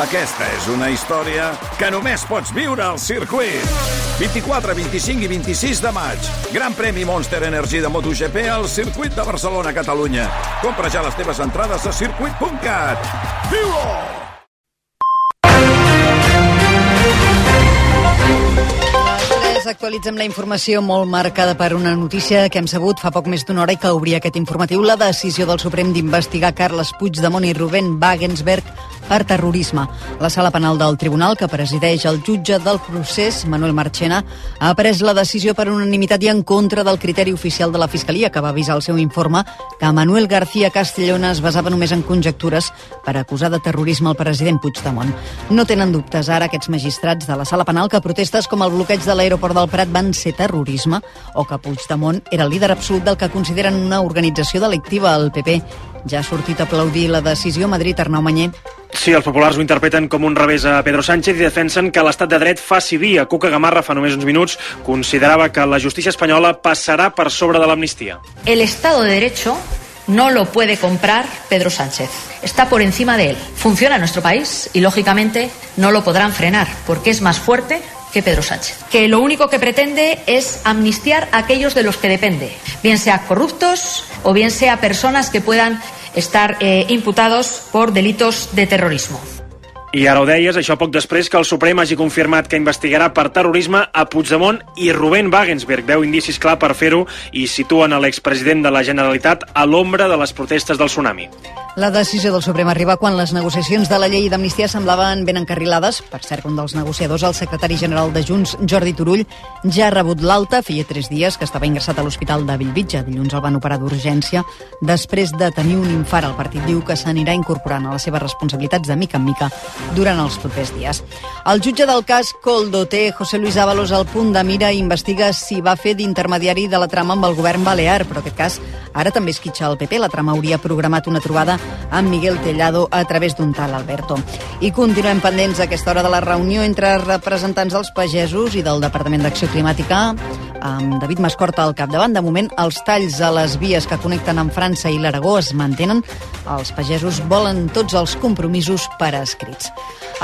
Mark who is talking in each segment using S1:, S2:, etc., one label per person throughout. S1: Aquesta és una història que només pots viure al circuit. 24, 25 i 26 de maig. Gran premi Monster Energy de MotoGP al circuit de Barcelona, Catalunya. Compra ja les teves entrades a circuit.cat. viu -ho!
S2: nosaltres actualitzem la informació molt marcada per una notícia que hem sabut fa poc més d'una hora i que obria aquest informatiu, la decisió del Suprem d'investigar Carles Puigdemont i Rubén Wagensberg per terrorisme. La sala penal del tribunal, que presideix el jutge del procés, Manuel Marchena, ha pres la decisió per unanimitat i en contra del criteri oficial de la Fiscalia, que va avisar el seu informe que Manuel García Castellona es basava només en conjectures per acusar de terrorisme el president Puigdemont. No tenen dubtes ara aquests magistrats de la sala penal que protestes com el bloqueig de l'aeroport del Prat van ser terrorisme o que Puigdemont era el líder absolut del que consideren una organització delictiva, el PP. Ja ha sortit a aplaudir la decisió a Madrid, Arnau Manyer.
S3: Sí, els populars ho interpreten com un revés a Pedro Sánchez i defensen que l'estat de dret faci dia. Cuca Gamarra fa només uns minuts considerava que la justícia espanyola passarà per sobre de l'amnistia.
S4: El Estado de Derecho no lo puede comprar Pedro Sánchez. Está por encima de él. Funciona en nuestro país y, lógicamente, no lo podrán frenar porque es más fuerte que Pedro Sánchez. Que lo único que pretende es amnistiar a aquellos de los que depende, bien sea corruptos o bien sea personas que puedan estar eh, imputados por delitos de terrorismo.
S3: I ara ho deies, això poc després que el Suprem hagi confirmat que investigarà per terrorisme a Puigdemont i Rubén Wagensberg. Veu indicis clar per fer-ho i situen a l'expresident de la Generalitat a l'ombra de les protestes del tsunami.
S2: La decisió del Suprem arriba quan les negociacions de la llei d'amnistia semblaven ben encarrilades. Per cert, un dels negociadors, el secretari general de Junts, Jordi Turull, ja ha rebut l'alta feia tres dies que estava ingressat a l'Hospital de Bellvitge. Dilluns el van operar d'urgència després de tenir un infart. El partit diu que s'anirà incorporant a les seves responsabilitats de mica en mica durant els propers dies. El jutge del cas Coldoté, José Luis Ábalos, al punt de mira, investiga si va fer d'intermediari de la trama amb el govern balear, però aquest cas ara també esquitxa el PP. La trama hauria programat una trobada amb Miguel Tellado a través d'un tal Alberto. I continuem pendents a aquesta hora de la reunió entre representants dels pagesos i del Departament d'Acció Climàtica amb David Mascorta al capdavant. De moment, els talls a les vies que connecten amb França i l'Aragó es mantenen. Els pagesos volen tots els compromisos per escrits.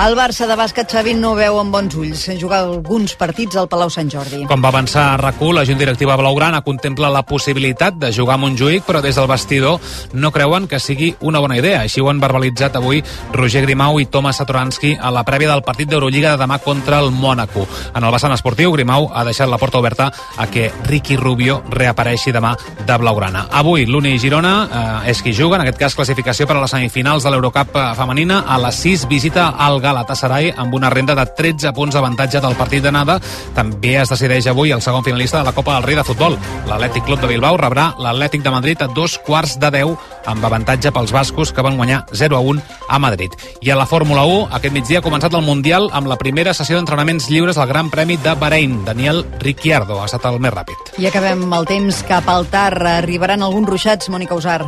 S2: El Barça de bàsquet, Xavi, no veu amb bons ulls. Jugar alguns partits al Palau Sant Jordi.
S5: Com va avançar a RAC1, la Junta Directiva Blaugrana contempla la possibilitat de jugar a Montjuïc, però des del vestidor no creuen que sigui una bona idea. Així ho han verbalitzat avui Roger Grimau i Thomas Satoranski a la prèvia del partit d'Eurolliga de demà contra el Mònaco. En el vessant esportiu, Grimau ha deixat la porta oberta a que Ricky Rubio reapareixi demà de Blaugrana. Avui, l'Uni Girona eh, és qui juga, en aquest cas classificació per a les semifinals de l'Eurocup eh, femenina. A les 6 visita el Galatasaray amb una renda de 13 punts d'avantatge del partit d'anada. També es decideix avui el segon finalista de la Copa del Rei de Futbol. L'Atlètic Club de Bilbao rebrà l'Atlètic de Madrid a dos quarts de 10 amb avantatge pels bascos que van guanyar 0 a 1 a Madrid. I a la Fórmula 1, aquest migdia ha començat el Mundial amb la primera sessió d'entrenaments lliures al Gran Premi de Bahrein. Daniel Ricciardo ha estat el més ràpid.
S2: I acabem el temps cap al tard. Arribaran alguns ruixats, Mònica Usar.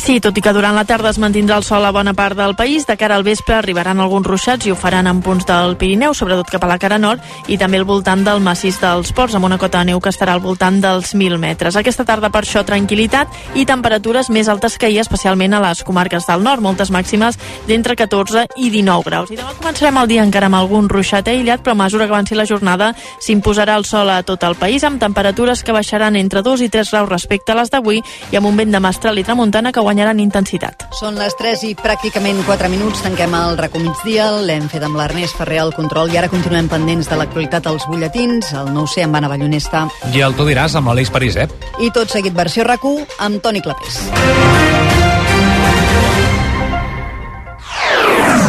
S6: Sí, tot i que durant la tarda es mantindrà el sol a bona part del país, de cara al vespre arribaran alguns ruixats i ho faran en punts del Pirineu, sobretot cap a la cara nord, i també al voltant del massís dels Ports, amb una cota de neu que estarà al voltant dels 1.000 metres. Aquesta tarda, per això, tranquil·litat i temperatures més altes que ahir, especialment a les comarques del nord, moltes màximes d'entre 14 i 19 graus. I demà començarem el dia encara amb algun ruixat aïllat, però a mesura que avanci la jornada s'imposarà el sol a tot el país, amb temperatures que baixaran entre 2 i 3 graus respecte a les d'avui i amb un vent de mestral i tramuntana que guanyaran intensitat.
S2: Són les 3 i pràcticament 4 minuts. Tanquem el dia. L'hem fet amb l'Ernest Ferrer al control i ara continuem pendents de l'actualitat als butlletins. El nou sé amb Anna Ballonesta.
S5: I el tu diràs amb l'Aleix París, eh?
S2: I tot seguit versió rac amb Toni Clapés.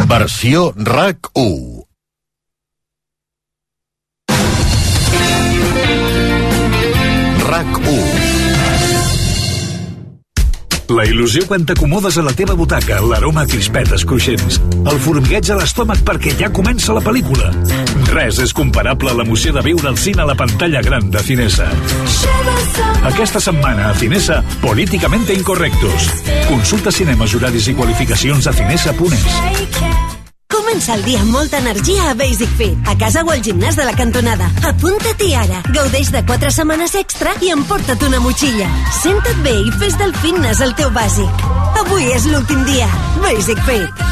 S7: Versió RAC1. RAC1.
S8: La il·lusió quan t'acomodes a la teva butaca, l'aroma a crispetes cruixents, el formigueig a l'estómac perquè ja comença la pel·lícula. Res és comparable a l'emoció de viure al cine a la pantalla gran de Cinesa. Aquesta setmana a Cinesa, Políticamente Incorrectos. Consulta cinemes, horaris i qualificacions a cinesa.es.
S9: Comença el dia amb molta energia a Basic Fit. A casa o al gimnàs de la cantonada. Apunta-t'hi ara. Gaudeix de 4 setmanes extra i emporta't una motxilla. Senta't bé i fes del fitness el teu bàsic. Avui és l'últim dia. Basic Fit.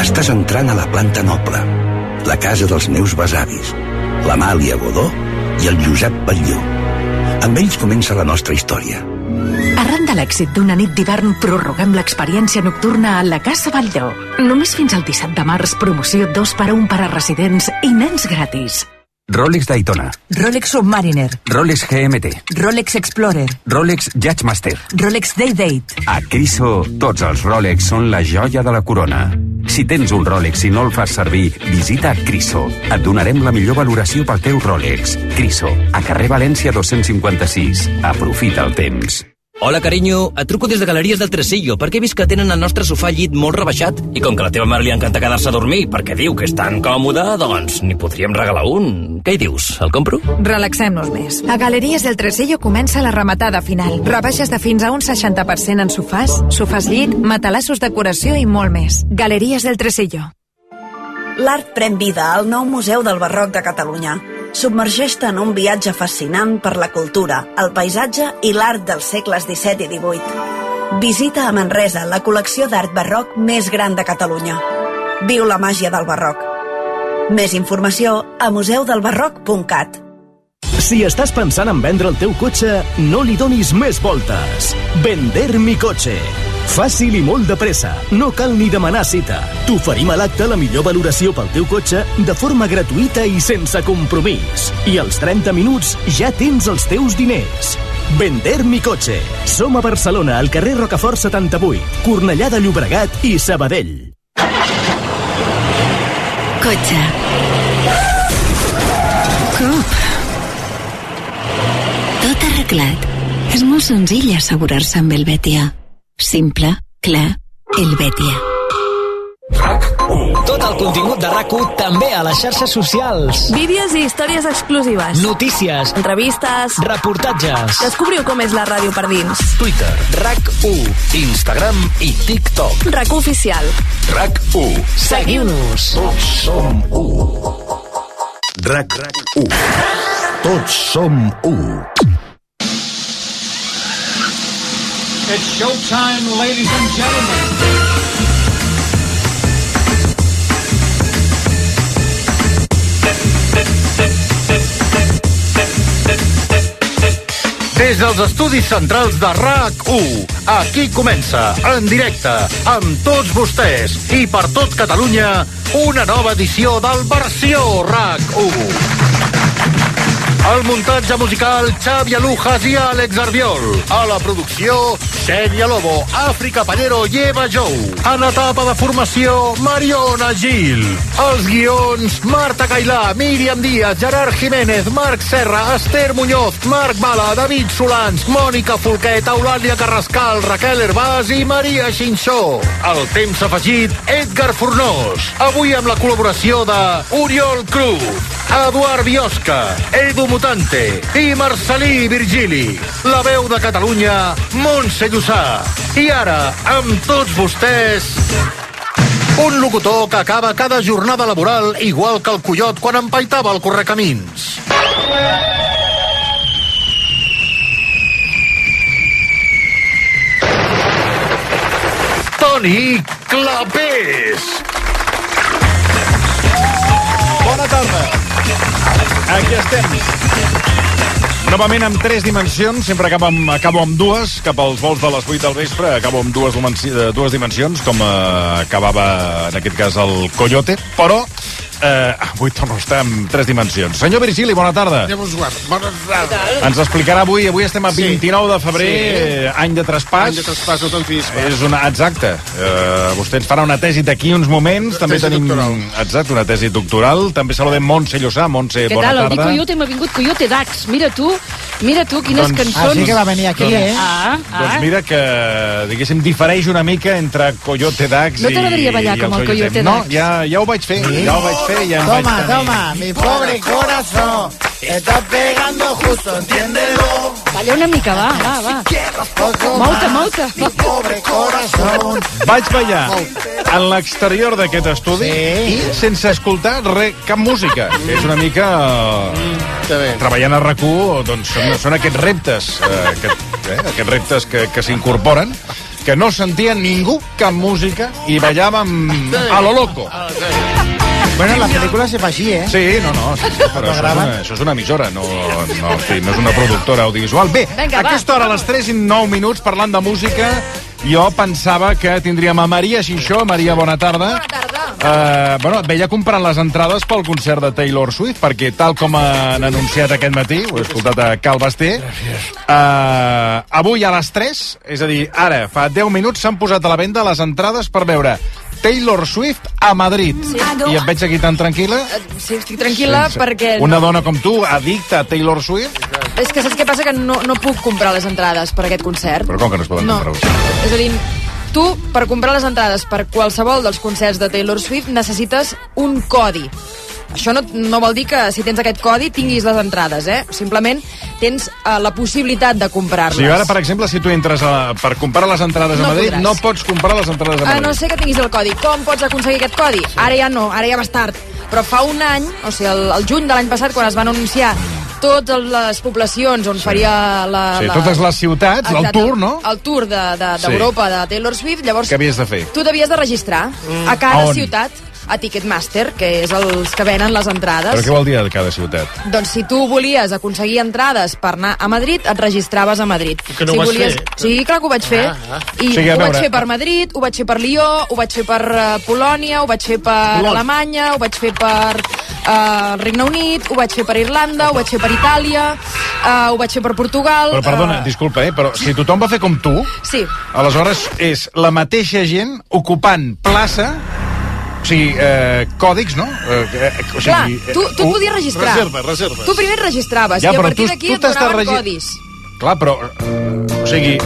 S10: estàs entrant a la planta noble, la casa dels meus besavis, l'Amàlia Godó i el Josep Batlló. Amb ells comença la nostra història.
S9: Arran de l'èxit d'una nit d'hivern, prorroguem l'experiència nocturna a la Casa Batlló. Només fins al 17 de març, promoció 2 per 1 per a residents i nens gratis.
S8: Rolex Daytona.
S11: Rolex Submariner.
S8: Rolex GMT.
S11: Rolex Explorer.
S8: Rolex Judgemaster.
S11: Rolex Day-Date.
S8: A Criso, tots els Rolex són la joia de la corona. Si tens un Rolex i no el fas servir, visita Criso. Et donarem la millor valoració pel teu Rolex. Criso, a carrer València 256. Aprofita el temps.
S12: Hola, carinyo. Et truco des de Galeries del Tresillo perquè he vist que tenen el nostre sofà llit molt rebaixat i com que a la teva mare li encanta quedar-se a dormir perquè diu que és tan còmode, doncs n'hi podríem regalar un. Què hi dius? El compro?
S13: Relaxem-nos més. A Galeries del Tresillo comença la rematada final. Rebaixes de fins a un 60% en sofàs, sofàs llit, matalassos decoració i molt més. Galeries del Tresillo.
S14: L'art pren vida al nou Museu del Barroc de Catalunya. Submergeix-te en un viatge fascinant per la cultura, el paisatge i l'art dels segles XVII i XVIII. Visita a Manresa la col·lecció d'art barroc més gran de Catalunya. Viu la màgia del barroc. Més informació a museudelbarroc.cat.
S15: Si estàs pensant en vendre el teu cotxe, no li donis més voltes. Vender mi cotxe. Fàcil i molt de pressa. No cal ni demanar cita. T'oferim a l'acte la millor valoració pel teu cotxe de forma gratuïta i sense compromís. I als 30 minuts ja tens els teus diners. Vender mi cotxe. Som a Barcelona, al carrer Rocafort 78, Cornellà de Llobregat i Sabadell.
S16: Cotxe. Cop. Tot arreglat. És molt senzill assegurar-se amb el Betia. Simple, clar, el Betia.
S17: Tot el contingut de rac també a les xarxes socials.
S18: Vídeos i històries exclusives.
S17: Notícies,
S18: Revistes.
S17: reportatges,
S18: Descobriu com és la ràdio per dins.
S17: Twitter, RAC1, Instagram i TikTok.
S18: RAC oficial.
S17: RAC1. Seguiu-nos.
S7: Tots som u. RAC 1. Tots som u.
S19: It's showtime, ladies and gentlemen.
S7: Des dels estudis centrals de RAC1, aquí comença, en directe, amb tots vostès i per tot Catalunya, una nova edició del Versió RAC1. El muntatge musical, Xavi Alujas i Àlex Arbiol. A la producció, Xènia Lobo, Àfrica Pallero i Eva Jou. A l'etapa de formació, Mariona Gil. Els guions, Marta Cailà, Míriam Díaz, Gerard Jiménez, Marc Serra, Esther Muñoz, Marc Bala, David Solans, Mònica Folquet, Eulàlia Carrascal, Raquel Herbàs i Maria Xinxó. El temps afegit, Edgar Fornós. Avui amb la col·laboració de Oriol Cruz, Eduard Biosca, Edu Mutante i Marcelí Virgili. La veu de Catalunya, Montse Llussà. I ara, amb tots vostès, un locutor que acaba cada jornada laboral igual que el Coyot quan empaitava el correcamins. Toni Clapés.
S1: Bona tarda. Aquí estem. Novament amb tres dimensions, sempre acabo amb, acabo amb dues, cap als vols de les 8 del vespre, acabo amb dues, dimensi- de dues dimensions, com eh, acabava en aquest cas el Coyote, però eh, avui torno a estar amb tres dimensions. Senyor Virgili, bona tarda.
S20: Ja vos guard. Bona tarda.
S1: Ens explicarà avui, avui estem a
S20: Sí.
S1: 29 de febrer,
S20: Sí.
S1: eh, any de traspàs.
S20: Any de traspàs, no te'n fiïs. va.
S1: És una... Exacte. Uh, vostè ens farà una tesi d'aquí uns moments. També
S20: tesi
S1: tenim...
S20: doctoral.
S1: Exacte, una tesi doctoral. També saludem Montse Llussà. Montse,
S4: Què
S1: Eh, bona
S4: tal? El
S1: tarda.
S4: Coyote m'ha vingut Coyote Dax. Mira tu, mira tu quines
S1: Doncs-
S4: cançons...
S1: Ah, sí que va venir aquí, eh?
S4: Ah, ah.
S1: Doncs mira que, diguéssim, difereix una mica entre Coyote Dax
S4: No
S1: i...
S4: t'agradaria ballar
S1: i
S4: com el
S1: Coyote
S4: Coyote
S1: No,
S4: Dax?
S1: ja, ja ho vaig fer, ja ho vaig fer, ja em
S20: Toma,
S1: vaig tenir.
S20: toma, mi pobre corazón. Estás pegando justo, entiéndelo.
S4: Balla una mica, va, va, va.
S20: Poco
S4: Mou-te,
S20: más,
S4: mou-te.
S20: Mi pobre corazón.
S1: Vaig ballar en l'exterior d'aquest estudi sí. i sense escoltar re, cap música. Mm. És una mica... Mm, treballant a eh, rac doncs són, són aquests reptes, eh, aquest, eh, aquests reptes que, que s'incorporen que no sentia ningú cap música i ballàvem a lo loco.
S20: Bueno, la pel·lícula se fa així, eh?
S1: Sí, no, no, sí, sí, però això és, una, això és una emissora, no, no, sí, no és una productora audiovisual. Bé,
S21: Vinga,
S1: Vinga,
S21: va,
S1: aquesta hora, a les 3 i 9 minuts, parlant de música, jo pensava que tindríem a Maria Xinxó. Maria, bona tarda. Bona tarda. Uh, bueno, et veia comprant les entrades pel concert de Taylor Swift, perquè tal com han anunciat aquest matí, ho he escoltat a Cal Basté, uh, avui a les 3, és a dir, ara, fa 10 minuts, s'han posat a la venda les entrades per veure Taylor Swift a Madrid.
S4: Sí.
S1: I et veig aquí tan tranquil·la.
S4: Eh, Sí, estic tranquil·la
S1: Sense-
S4: perquè...
S1: Una
S4: no-
S1: dona com tu, addicta a Taylor Swift?
S4: És que saps què passa? Que no, no puc comprar les entrades per aquest concert.
S1: Però com que no es poden
S4: No.
S1: comprar?
S4: És a dir, tu, per comprar les entrades per qualsevol dels concerts de Taylor Swift, necessites un codi. Això no, no vol dir que si tens aquest codi tinguis les entrades, eh? Simplement tens eh, la possibilitat de comprar-les.
S1: Si ara, per exemple, si tu entres a, per comprar les entrades a
S4: No
S1: Madrid,
S4: podràs.
S1: no pots comprar les entrades a
S4: A
S1: Madrid.
S4: Ah, no sé que tinguis el codi. Com pots aconseguir aquest codi? Ara ja no, ara ja vas tard. Però fa un any, o sigui, el, el juny de l'any passat, quan es van anunciar totes les poblacions on faria la...
S1: Sí,
S4: la...
S1: totes les ciutats, el
S4: Ah, Exacte,
S1: tour, no?
S4: El tour d'Europa,
S1: Sí.
S4: de, de, d'Europa, de Taylor Swift, llavors...
S1: Què havies de fer?
S4: Tu t'havies de registrar
S1: Mm.
S4: a cada
S1: A on?
S4: ciutat, a Ticketmaster, que és els que venen les entrades.
S1: Però què vol dir de cada ciutat?
S4: Doncs si tu volies aconseguir entrades per anar a Madrid, et registraves a Madrid.
S1: Que no ho
S4: si
S1: vas
S4: volies...
S1: fer.
S4: Sí, clar que ho vaig fer.
S1: Ah, ah.
S4: I
S1: O sigui, a
S4: ho
S1: veure-
S4: vaig fer per Madrid, ho vaig fer per Lió, ho vaig fer per eh, Polònia, ho vaig fer per
S22: Lol.
S4: Alemanya, ho vaig fer per eh, el Regne Unit, ho vaig fer per Irlanda, ho vaig fer per Itàlia, eh, ho vaig fer per Portugal...
S1: Però perdona,
S4: eh,
S1: disculpa, eh, però si tothom va fer com tu,
S4: Sí.
S1: aleshores és la mateixa gent ocupant plaça o sigui, eh, còdics, no? Eh, eh, o eh,
S4: Clar, tu, tu et
S1: un-
S4: podies registrar. Tu primer et registraves
S1: Ja,
S4: i a
S1: però
S4: partir
S1: tu-
S4: d'aquí
S1: tu
S4: et
S1: t'has de
S4: donaven
S1: regi-
S4: codis.
S1: Clar, però... eh, O sigui...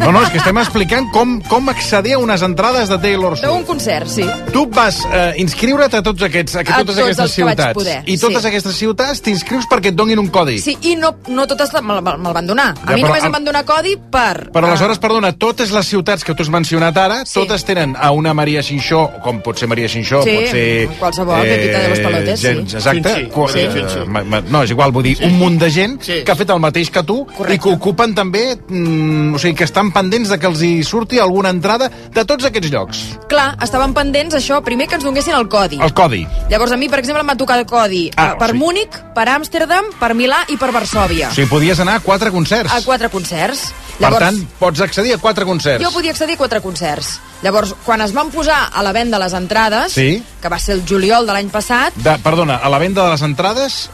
S1: No, no, és que estem explicant com, com accedir a unes entrades de Taylor
S4: D'un
S1: Swift.
S4: concert, sí.
S1: Tu vas eh, inscriure't a, tots aquests, a,
S4: A
S1: totes
S4: tots
S1: aquestes
S4: els que vaig
S1: ciutats.
S4: poder,
S1: I totes
S4: sí.
S1: aquestes ciutats t'inscrius perquè et donin un codi.
S4: Sí, i no, no totes la- me'l me, me van donar. A
S1: Ja,
S4: mi
S1: però
S4: només
S1: el-
S4: em van donar codi per...
S1: Però
S4: eh,
S1: aleshores, perdona, totes les ciutats que tu has mencionat ara, sí. totes tenen a una Maria Xinxó, o com pot ser Maria Xinxó,
S4: Sí,
S1: pot ser...
S4: qualsevol, Pepita de los Palotes,
S1: gent,
S4: sí.
S1: Exacte. Finxi, Qua-
S4: Maria
S1: eh,
S4: Finxi.
S1: ma- ma- no, és igual, vull dir, sí. un munt de gent sí. que ha fet el mateix que tu Correcte. i que ocupen també, mm, o sigui, que estan pendents de que els hi surti alguna entrada de tots aquests llocs.
S4: Clar, estaven pendents això, primer que ens donguessin el codi.
S1: El codi.
S4: Llavors a mi, per exemple, em va tocar el codi
S1: Ah,
S4: eh, per
S1: o sigui-
S4: Múnich, per Amsterdam, per Milà i per Varsovia.
S1: O sigui, podies anar a quatre concerts.
S4: A quatre concerts.
S1: Per tant, pots accedir a quatre concerts.
S4: Jo podia accedir a quatre concerts. Llavors, quan es van posar a la venda les entrades,
S1: Sí.
S4: que va ser el juliol de l'any passat,
S1: De, perdona, a la venda de les entrades,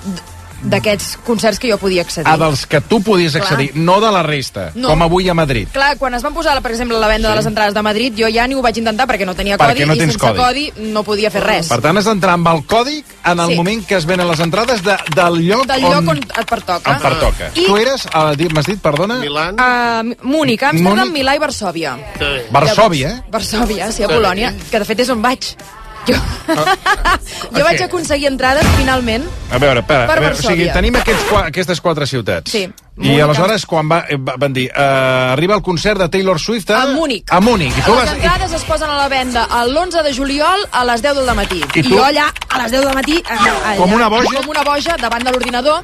S4: d'aquests concerts que jo podia accedir.
S1: a dels que tu podies
S4: Clar.
S1: accedir, no de la resta,
S4: No.
S1: com avui a Madrid.
S4: Clar, quan es van posar, per exemple, a la venda sí. de les entrades de Madrid, jo ja ni ho vaig intentar perquè no tenia
S1: Perquè
S4: codi
S1: no
S4: i
S1: tens
S12: sense
S1: codi. Ah.
S4: codi no podia fer res.
S1: Per tant, has d'entrar amb el còdic en el
S4: Sí.
S1: sí. moment que es venen les entrades de, del lloc
S4: Del lloc on et pertoca.
S1: on pertoca.
S4: I-
S1: I... Tu eres, a- di- m'has dit, perdona? Ah.
S4: Milan? Uh, Múnich, Amsterdam,
S1: Múnich?
S4: Milà i Varsovia.
S1: Varsovia,
S4: Llavors, Varsovia, sí, a Polònia, que de fet és on vaig.
S1: Ah.
S4: Jo, jo vaig aconseguir entrades, finalment.
S1: eh? A veure, espera,
S4: Per
S1: a veure, o sigui,
S4: Varsòvia.
S1: tenim aquests, qua- aquestes quatre ciutats.
S4: Sí.
S1: I aleshores, quan va, eh, va- van dir, uh, arriba el concert de Taylor Swift a... A Múnich. A Múnich. I tu
S4: Les
S1: vas... I,
S4: entrades es posen a la venda l'11 de juliol a les 10 del matí.
S1: I
S4: I,
S1: tu?
S4: jo allà, a les 10 del matí... eh, Allà,
S1: Com una boja?
S4: Com una boja, davant de l'ordinador,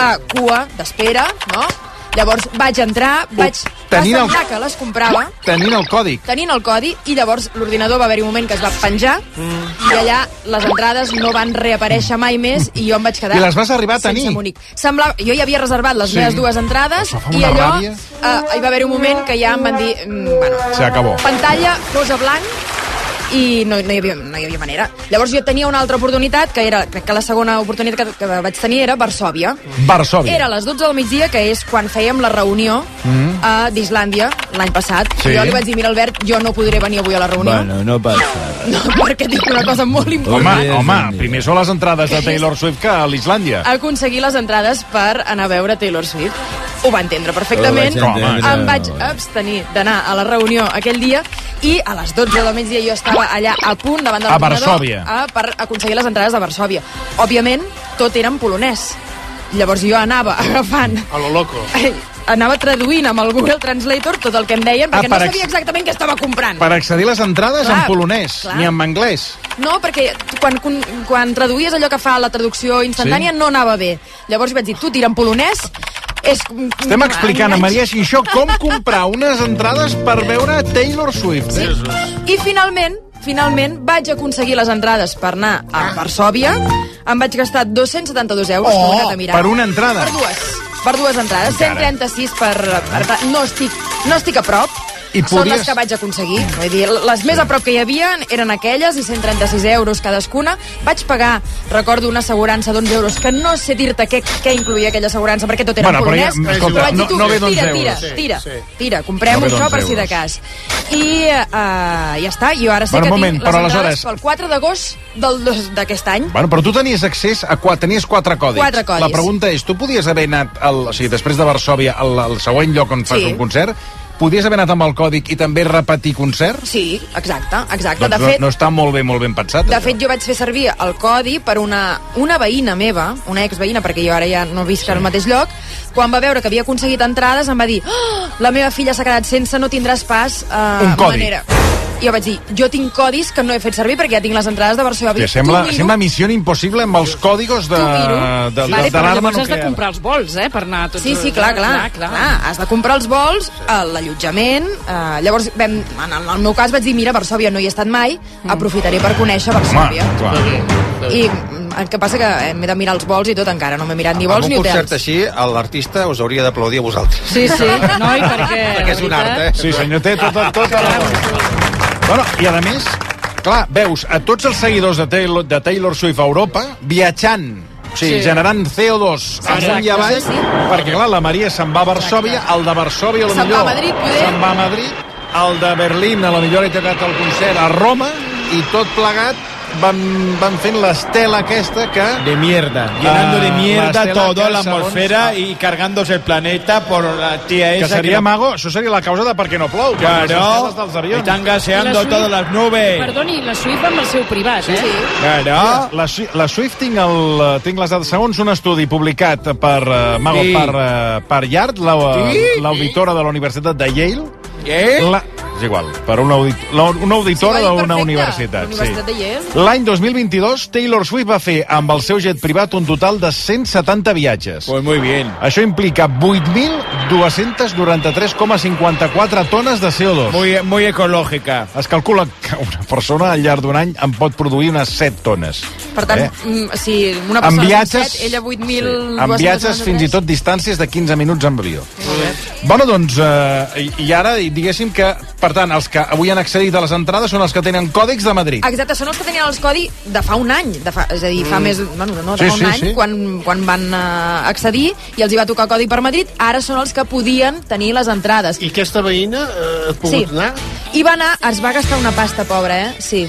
S4: a cua d'espera, no? Llavors vaig entrar, vaig
S1: tenint el-
S4: assentar que les comprava,
S1: tenint el còdic.
S4: tenint el codi, i llavors l'ordinador va haver-hi un moment que es va penjar, i allà les entrades no van reaparèixer mai més i jo em vaig quedar...
S1: I les vas arribar a tenir?
S4: Sense Munic. Semblava, jo ja havia reservat les
S1: Sí.
S4: meves dues entrades
S1: Això fa
S4: i
S1: una
S4: allò...
S1: ràbia.
S4: eh, hi va haver un moment que ja em van dir... "Mm, Bueno,
S1: Se acabó.
S4: pantalla, cosa blanc, i no, no, hi havia, no hi havia manera. Llavors jo tenia una altra oportunitat, que era, crec que la segona oportunitat que, que vaig tenir era Varsovia.
S1: Varsòvia.
S4: Era a les 12 del migdia, que és quan fèiem la reunió
S20: Mm.
S23: Mm-hmm.
S4: a d'Islàndia l'any passat.
S20: Sí.
S4: Jo li vaig dir, mira Albert, jo no podré venir avui a la reunió,
S20: Bueno, no passa.
S4: no, perquè tinc una cosa molt important.
S1: Home, home, primer són les entrades de Taylor Swift que a l'Islàndia.
S4: aconseguir les entrades per anar a veure Taylor Swift. Ho va entendre perfectament.
S1: Ho vaig entendre.
S4: Em vaig abstenir d'anar a la reunió aquell dia i a les 12 del migdia jo estava allà a punt davant del
S1: A
S4: ordinador,
S1: Varsòvia.
S4: a, per aconseguir les entrades de Varsovia. Òbviament, tot era en polonès. Llavors jo anava agafant...
S23: A lo loco.
S4: Ai, anava traduint amb el Google Translator tot el que em deien,
S1: Ah,
S4: perquè no
S1: per ex-
S4: sabia exactament què estava comprant.
S1: Per accedir a les entrades
S4: Clar,
S1: en polonès,
S4: clar.
S1: ni en anglès.
S4: No, perquè tu quan, quan, quan traduïes allò que fa la traducció instantània
S1: Sí.
S4: sí. no anava bé. Llavors vaig dir, tu tira en polonès, És...
S1: Estem explicant a Maria Xinxó com comprar unes entrades per veure Taylor Swift.
S4: Sí. I finalment, finalment, vaig aconseguir les entrades per anar a Varsovia. Em vaig gastar 272 euros.
S1: Oh,
S4: que ho he anat a mirar.
S1: per una entrada.
S4: Per dues. Per dues entrades.
S1: Encara.
S4: 136 per... per no, estic, no estic a prop.
S1: I
S4: Són
S1: podies-
S4: les que vaig aconseguir. Vull dir, les més a prop que hi havia eren aquelles i 136 euros cadascuna. Vaig pagar, recordo, una assegurança d'11 euros, que no sé dir-te què, què incluïa aquella assegurança, perquè tot era
S1: Bueno,
S4: en
S1: però ja-
S4: polonès. Però
S1: escolta,
S4: vaig dir,
S1: no-
S4: tu,
S1: no ve d'11
S4: tira, tira,
S1: euros.
S4: tira, tira, comprem
S1: No ve
S4: això
S1: d'11
S4: per si de
S1: euros.
S4: cas. I uh, ja està, jo ara sí
S1: Bueno,
S4: que
S1: un moment,
S4: tinc les
S1: però
S4: entrades
S1: aleshores-
S4: pel 4 d'agost del dos- d'aquest any.
S1: Bueno, però tu tenies accés a quatre, tenies quatre codis.
S4: Quatre codis.
S1: La pregunta és, tu podies haver anat, al, o sigui, després de Varsovia, al, al següent lloc on fas
S4: Sí.
S1: un concert, podies haver anat amb el còdic i també repetir concert?
S4: Sí, exacte, exacte.
S1: Doncs
S4: De
S1: no,
S4: fet,
S1: no està molt ben, molt ben pensat.
S4: de
S1: això.
S4: fet, jo vaig fer servir el codi per una, una veïna meva, una exveïna, perquè jo ara ja no visc al mateix lloc, quan va veure que havia aconseguit entrades em va dir oh, la meva filla s'ha quedat sense, no tindràs pas eh,
S1: Un codi.
S4: manera. I jo vaig dir, jo tinc codis que no he fet servir perquè ja tinc les entrades de versió.
S1: Hòstia, sembla, sembla missió impossible amb els còdigos de, de, de,
S21: vale,
S1: de
S21: però
S1: l'arma
S21: llavors has de
S1: nuclear.
S21: comprar els vols, eh, per anar a tots
S4: Sí, sí,
S21: els-
S4: clar, clar, clar,
S21: clar.
S4: Has de comprar els vols, eh, l'allotjament... Eh, llavors, vam, en el- en el meu cas vaig dir, mira, Varsovia no hi he estat mai,
S21: Mm.
S4: aprofitaré per conèixer Varsovia.
S1: clar.
S4: I mm, el que passa que eh, m'he de mirar els vols i tot encara, no m'he mirat ni
S22: Amb
S4: vols
S22: un
S4: ni
S22: concert
S4: hotels.
S22: així, l'artista us hauria d'aplaudir a vosaltres.
S4: Sí, sí, noi, perquè...
S22: Perquè és un art, eh?
S1: Sí, senyor, té tota, tota la raó. Bueno, i a més, clar, veus a tots els seguidors de Taylor, de Taylor Swift a Europa viatjant, o sigui, Sí. generant CO2 amunt i Exacte, avall, sí, sí. perquè, clar, la Maria se'n va a Varsovia, el de Varsovia, a lo
S4: Se'n va
S1: millor,
S4: a Madrid, poder.
S1: se'n va a Madrid, el de Berlín, a la millor he tocat el concert a Roma, i tot plegat van, van fent l'estela aquesta que...
S23: De mierda. Llenando de
S1: Ah, la
S23: mierda
S1: estela
S23: toda
S1: que
S23: la
S1: segons-
S23: atmósfera y cargándose el planeta por la tía
S1: Que
S23: esa.
S1: seria
S23: eh, no-
S1: mago, això seria la causa de per què no plou. per les
S23: Claro,
S1: esteles dels avions.
S23: están
S21: I la
S23: gaseando
S21: Swift-
S23: todas las nubes.
S21: Perdoni, la Swift va amb el seu privat, sí, eh? Sí.
S1: Mira, la, Swi- la Swift tinc, el, eh, tinc les dades. Segons un estudi publicat per uh, Mago
S23: Sí.
S1: sí. per, uh, per Yard, la-
S23: Sí.
S1: l'auditora de la Universitat de Yale... La, és igual, per una, audit, la, una auditora
S4: Sí, va dir
S1: d'una
S4: perfecte,
S1: universitat.
S4: Universitat de Yale.
S1: L'any 2022, Taylor Swift va fer amb el seu jet privat un total de 170 viatges. Pues
S23: muy bien.
S1: Això implica 8.293,54 tones de CO2.
S23: Muy, muy ecológica.
S1: Es calcula que una persona al llarg d'un any en pot produir unes 7 tones.
S4: Per tant,
S1: Eh?
S4: mm, si una
S1: Amb
S4: persona...
S1: viatges-
S4: set, ella 8.000...
S1: Amb viatges fins i tot distàncies de 15 minuts amb avió. Bueno, doncs, eh, i- i ara i diguéssim que, per tant, els que avui han accedit a les entrades són els que tenen còdics de Madrid.
S4: Exacte, són els que tenien els codi de fa un any, de fa, és a dir, fa
S1: Mm.
S4: més... Bueno, no,
S1: Sí,
S4: de fa un
S1: sí,
S4: any,
S1: sí.
S4: Quan, quan van eh, accedir i els hi va tocar codi per Madrid, ara són els que podien tenir les entrades.
S6: I aquesta veïna eh, ha pogut
S4: Sí.
S6: sí. anar?
S4: I va anar, es va gastar una pasta, pobra, eh? Sí.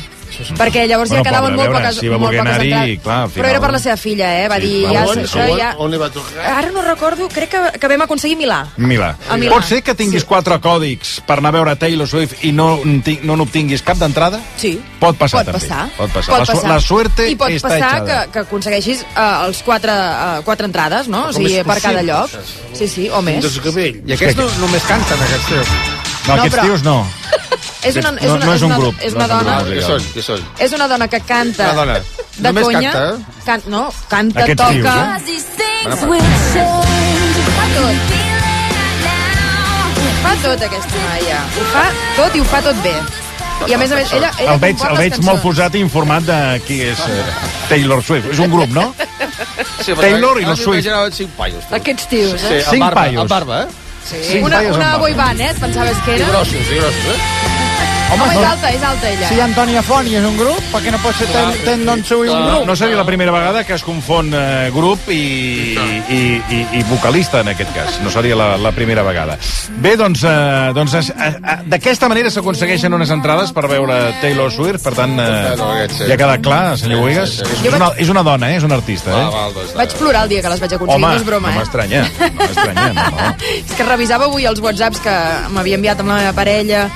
S4: Perquè llavors
S1: Bueno,
S4: ja quedaven
S1: pobra,
S4: molt
S1: a veure,
S4: poques,
S1: si va
S4: molt
S1: voler
S4: poques
S1: anar-hi,
S4: entrades.
S1: clar, al final-
S4: Però era per la seva filla, eh? Va dir,
S1: clar,
S4: ja,
S1: on-
S4: això
S1: on-
S4: ja...
S6: On li va tocar?
S4: Ara no recordo, crec que, que vam aconseguir Milà.
S1: Milà.
S4: A Milà.
S1: Pot ser que tinguis sí. quatre còdics per anar a veure Taylor Swift i no, n'obti- no n'obtinguis cap d'entrada?
S4: Sí.
S1: Pot passar,
S4: pot
S1: també.
S4: passar.
S1: Pot passar. la, su- La suerte
S4: I pot
S1: està
S4: passar
S1: echada.
S4: que, que aconsegueixis eh, els quatre, eh, quatre entrades, no? O
S6: Com
S4: sigui,
S6: és
S4: per cada
S6: possible,
S4: lloc. Sí, sí, o més.
S6: Doncs que bé. I
S1: És
S6: aquests
S1: que-
S6: no, només canten, aquests tios.
S1: No, aquests
S4: però-
S1: tios no.
S4: És una, és
S1: No-
S4: una,
S1: no és un
S4: una-
S1: grup,
S4: És
S1: no
S4: una
S1: és un
S4: dona...
S1: grup.
S22: Què són? Què són?
S4: És una dona que canta...
S22: Una dona.
S4: De
S22: Només
S4: conya.
S22: canta, eh?
S4: Can, no, canta,
S22: Aquests tios,
S4: toca...
S22: eh? Bueno,
S4: Fa tot. Ho fa tot, aquesta noia. Ho fa tot i ho fa tot bé. I a més a més, ella... ella
S1: el veig,
S4: compon
S1: el
S4: les
S1: veig molt
S4: cançons.
S1: posat i informat de qui és eh, Taylor Swift. És un grup, no?
S22: Sí, perquè
S1: Taylor i
S22: ara
S1: los
S22: m'hi
S1: Swift.
S22: imaginaven cinc paios.
S4: Aquests tios,
S22: Sí,
S4: eh?
S22: amb
S1: Cinc
S22: barba,
S1: paios.
S22: amb barba, eh?
S4: Sí. Una,
S22: paios
S4: una
S22: amb
S4: boy band, eh? Et pensaves que
S22: I
S4: era?
S22: grossos, i grossos, eh?
S4: Home,
S22: Home,
S4: és
S22: no.
S4: alta, és alta, ella.
S6: Si Antonia Font i és un grup, per què no pot ser ten, ten don seu i un
S22: Ah.
S1: No,
S6: grup?
S1: no seria la primera vegada que es confon eh, grup i, i, i, i vocalista, en aquest cas. No seria la, la primera vegada. Bé, doncs, eh, doncs es- eh, eh, d'aquesta manera s'aconsegueixen unes entrades per veure Taylor Swift. Per tant, eh, ja queda clar, senyor Boigas. És una, és una dona, eh? és una artista. Eh?
S4: Vaig plorar el dia que les vaig aconseguir,
S1: Home,
S4: no és broma,
S1: no
S4: eh?
S1: m'estranya. No m'estranya.
S4: és que revisava avui els whatsapps que m'havia enviat amb la meva parella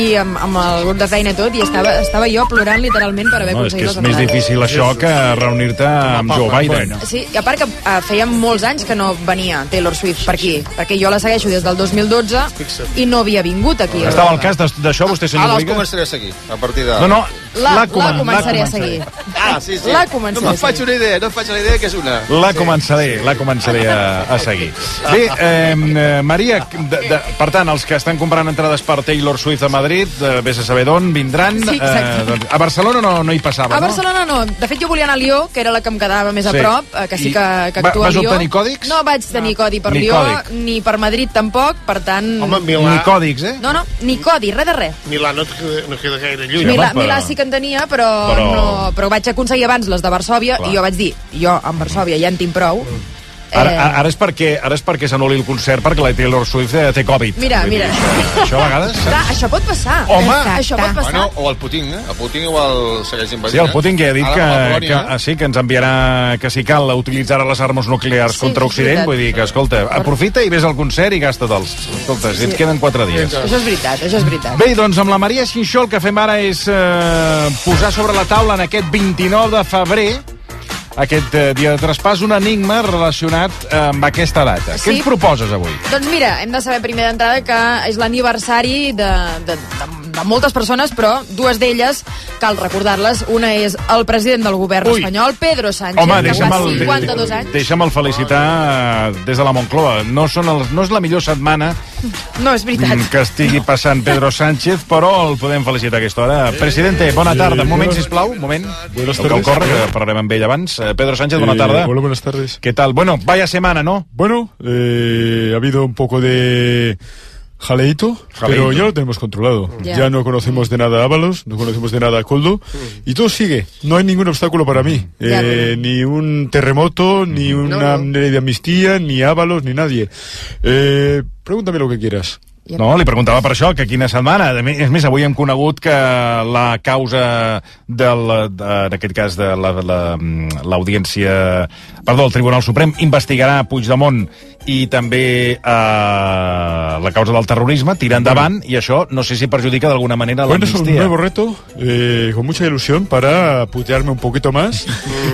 S4: i amb, amb el grup de feina i tot, i estava, estava jo plorant literalment per haver
S1: No, és que
S4: aconseguit
S1: és
S4: les
S1: més
S4: entrades.
S1: difícil això que reunir-te amb Joe Biden.
S4: Sí, i a part que eh, feia molts anys que no venia Taylor Swift per aquí, perquè jo la segueixo des del 2012 i no havia vingut aquí.
S1: Estava al cas d'as- d'això, vostè,
S22: Ara
S1: senyor
S22: els
S1: Boiga?
S22: començaré a seguir, a partir de...
S1: No, no,
S4: La, la,
S1: comen-
S4: començaré
S1: la
S4: a seguir.
S22: Ah, sí, sí.
S4: La començaré
S22: No
S4: a
S22: me'n faig
S4: seguir.
S22: una idea, no em faig una idea que és una.
S1: La començaré, la començaré a, a seguir. Bé, eh, eh, Maria, de, de, per tant, els que estan comprant entrades per Taylor Swift a Madrid, eh, vés a saber d'on vindran.
S4: Sí, exacte.
S1: doncs, a Barcelona no, no hi passava,
S4: A Barcelona no. De fet, jo volia anar a Lió, que era la que em quedava més a
S1: Ah, Sí.
S4: prop, eh, que sí
S1: I
S4: que, que
S1: va-
S4: actua
S1: vas
S4: a Lió.
S1: obtenir còdics? Ah.
S4: No vaig tenir codi per
S1: Ni
S4: Lió,
S1: còdic.
S4: ni per Madrid tampoc, per tant...
S1: Home, Milà- Ni còdics, eh?
S4: No, no, ni codi, res de res.
S24: Milà no, et queda- no queda gaire lluny.
S4: Milà, Milà sí que en tenia, però, però...
S24: Però-
S4: No, però vaig aconseguir abans les de Varsovia
S1: Clar.
S4: i jo vaig dir, jo amb Varsovia ja en tinc prou.
S1: no? Ara,
S4: Eh.
S1: a- ara és perquè ara és perquè s'anul·li el concert perquè la Taylor Swift eh, té Covid.
S4: Mira, mira.
S1: Això a vegades...
S4: Clar, això pot passar. Això pot passar.
S22: Bueno, o el Putin, eh? El Putin igual segueix invadint. eh?
S1: Sí, el Putin que ha dit
S22: Ara
S1: que,
S22: amb la
S1: que,
S22: Polònia, eh?
S1: ah, sí, que ens enviarà, que si cal, utilitzarà les armes nuclears
S22: Sí,
S1: contra
S22: és
S1: Occident.
S22: veritat.
S1: Vull dir que, escolta, aprofita i vés al concert i gasta dels. Escolta, si et queden quatre dies.
S4: Això és veritat, això és veritat.
S1: Bé, doncs amb la Maria Xinxó el que fem ara és eh, posar sobre la taula en aquest 29 de febrer aquest eh, dia de traspàs, un enigma relacionat eh, amb aquesta data.
S4: Sí.
S1: Què ens proposes avui?
S4: Doncs mira, hem de saber primer d'entrada que és l'aniversari de, de, de, de moltes persones, però dues d'elles, cal recordar-les, una és el president del govern
S1: Ui.
S4: espanyol, Pedro Sánchez,
S1: Home,
S4: que
S1: deixa'm
S4: fa
S1: el,
S4: 52 anys.
S1: deixa'm el felicitar eh, des de la Moncloa. No, són els, no és la millor setmana
S4: No, és veritat.
S1: Mm, que estigui passant Pedro Sánchez, però el podem felicitar a aquesta hora. Presidente, bona tarda. Un moment, sisplau, un moment.
S25: Buenas
S1: El que
S25: tardes.
S1: ocorre, que parlarem amb ell abans. Eh, Pedro Sánchez, bona
S25: Eh,
S1: tarda.
S25: hola, buenas tardes.
S1: ¿Qué tal? Bueno, vaya semana, ¿no?
S25: Bueno, eh, ha habido un poco de jaleito,
S1: Jaleíto.
S25: pero ya lo tenemos controlado.
S1: Ya.
S25: Ya no conocemos de nada a Ábalos, no conocemos de nada a Coldo, y todo sigue. No hay ningún obstáculo para mí. Eh, ni un terremoto,
S1: Mm.
S25: ni una ley de amnistía, ni Ábalos, ni nadie. Eh, pregúntame lo que quieras.
S1: No, li preguntava per això, que quina setmana. A mi- És més, avui hem conegut que la causa del, de, en aquest cas de l'audiència... La, l'audiència, perdó, el Tribunal Suprem investigarà Puigdemont i també eh, la causa del terrorisme, tira endavant, i això no sé si perjudica d'alguna manera
S25: Bueno, es un
S1: l'amnistia.
S25: nuevo reto, eh, con mucha ilusión para putearme un poquito más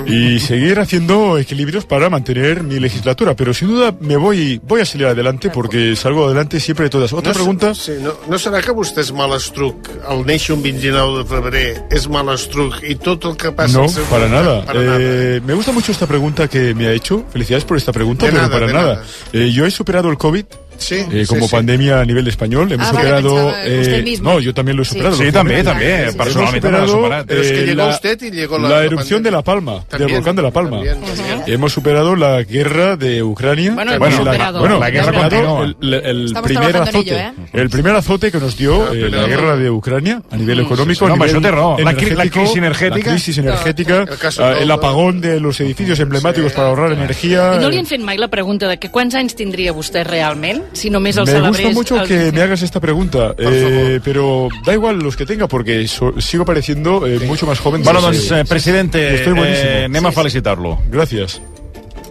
S25: y seguir haciendo equilibrios para mantener mi legislatura. Pero sin duda me voy, voy a salir adelante porque salgo adelante siempre de todas. Otra
S24: se-
S25: pregunta.
S24: Sí, no, no serà que vostè és malestruc, el néixer un 29 de febrer és malestruc i tot el que passa...
S25: No,
S24: al seu
S25: para
S24: voltant,
S25: nada.
S24: Para
S25: Eh, me gusta mucho esta pregunta que me ha hecho. Felicidades por esta pregunta,
S24: De
S25: pero
S24: nada,
S25: para
S24: de
S25: nada.
S24: nada.
S25: Eh, yo he superado el COVID. eh,
S24: sí,
S25: como
S24: sí.
S25: pandemia a nivel español, hemos
S24: Ah, vale,
S25: superado.
S24: pensaba que usted
S25: eh,
S24: mismo.
S25: no, yo también lo he
S24: Sí.
S25: superado.
S1: Sí,
S25: lógicamente.
S1: también, también.
S25: Hemos
S1: Personalmente también lo he
S25: superado,
S1: superado.
S24: Pero es que
S25: eh,
S24: llegó
S25: la-
S24: usted y llegó la-
S25: la
S24: la
S25: erupción de La Palma, del
S24: También,
S25: volcán de La Palma.
S24: también.
S25: Hemos superado la guerra de Ucrania.
S24: Bueno, hemos
S25: la-
S24: superado.
S25: bueno,
S24: La guerra
S25: superado
S24: continúa.
S25: El, el
S24: Estamos
S25: primer
S24: trabajando en
S25: azote,
S24: ello, ¿eh?
S25: el primer azote que nos dio eh, la guerra de Ucrania a nivel
S1: Mm.
S25: económico,
S1: No,
S25: a
S1: home,
S25: nivel
S1: això té raó. La cri- la
S25: energético,
S1: crisi energètica.
S25: la crisis energética,
S1: El caso
S25: eh, el
S1: Coldo.
S25: apagón de los edificios emblemáticos para ahorrar energía.
S21: I no li han fet mai la pregunta de que quants anys tindria vostè realment si només el
S25: Eh, Me
S21: celebrés...
S25: gusta mucho
S21: el...
S25: que me hagas esta pregunta, eh, pero da igual los que tenga porque so- sigo pareciendo eh, mucho más joven. de
S1: Bueno,
S25: los que-
S1: doncs, eh, presidente,
S25: Estoy buenísimo.
S1: eh, anem a felicitar-lo.
S25: Gràcies.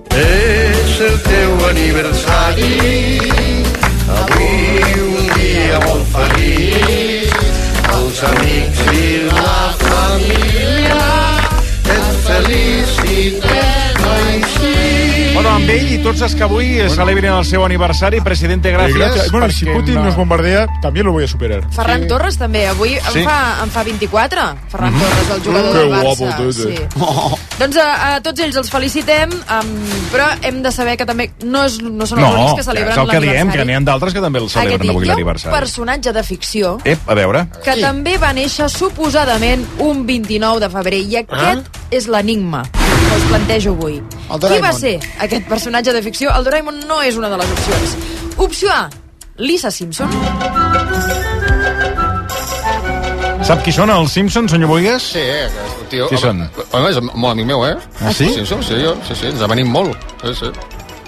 S24: És el teu aniversari, avui un dia molt feliç, els amics i la família et feliciten així.
S1: Bueno, amb ell i tots els que avui bueno. celebrin el seu aniversari. Presidente,
S25: Eh,
S1: gràcies.
S25: gracias. Bueno, si
S1: perquè
S25: Putin
S1: no-
S25: nos bombardea, también lo voy a superar.
S4: Ferran Torres també, avui
S25: Sí.
S4: en, fa, en fa 24, Ferran Torres, el jugador
S25: Que
S4: del Barça.
S25: guapo, tete.
S4: Doncs a, a tots ells els felicitem, um, però hem de saber que també no, és, no són els
S1: No,
S4: únics
S1: que
S4: que
S1: és
S4: celebren
S1: el que diem, que n'hi ha
S4: l'aniversari.
S1: d'altres que també el
S4: Aquest
S1: celebren
S4: dia.
S1: avui
S4: Hi ha un
S1: l'aniversari.
S4: personatge de ficció
S1: Ep, a veure.
S4: que també va néixer suposadament un 29 de febrer i aquest és l'enigma que us plantejo avui. Qui va
S20: Doraemon.
S4: ser aquest personatge de ficció? El Doraemon no és una de les opcions. Opció A, Lisa Simpson.
S1: Sap qui són els Simpsons, senyor Boigas?
S22: Sí, eh, que- tio.
S1: Qui
S22: home,
S1: són?
S22: Home, és molt amic meu, eh?
S1: Ah, sí?
S22: Sí, som, sí, jo, sí, sí, ens avenim molt. Sí, sí.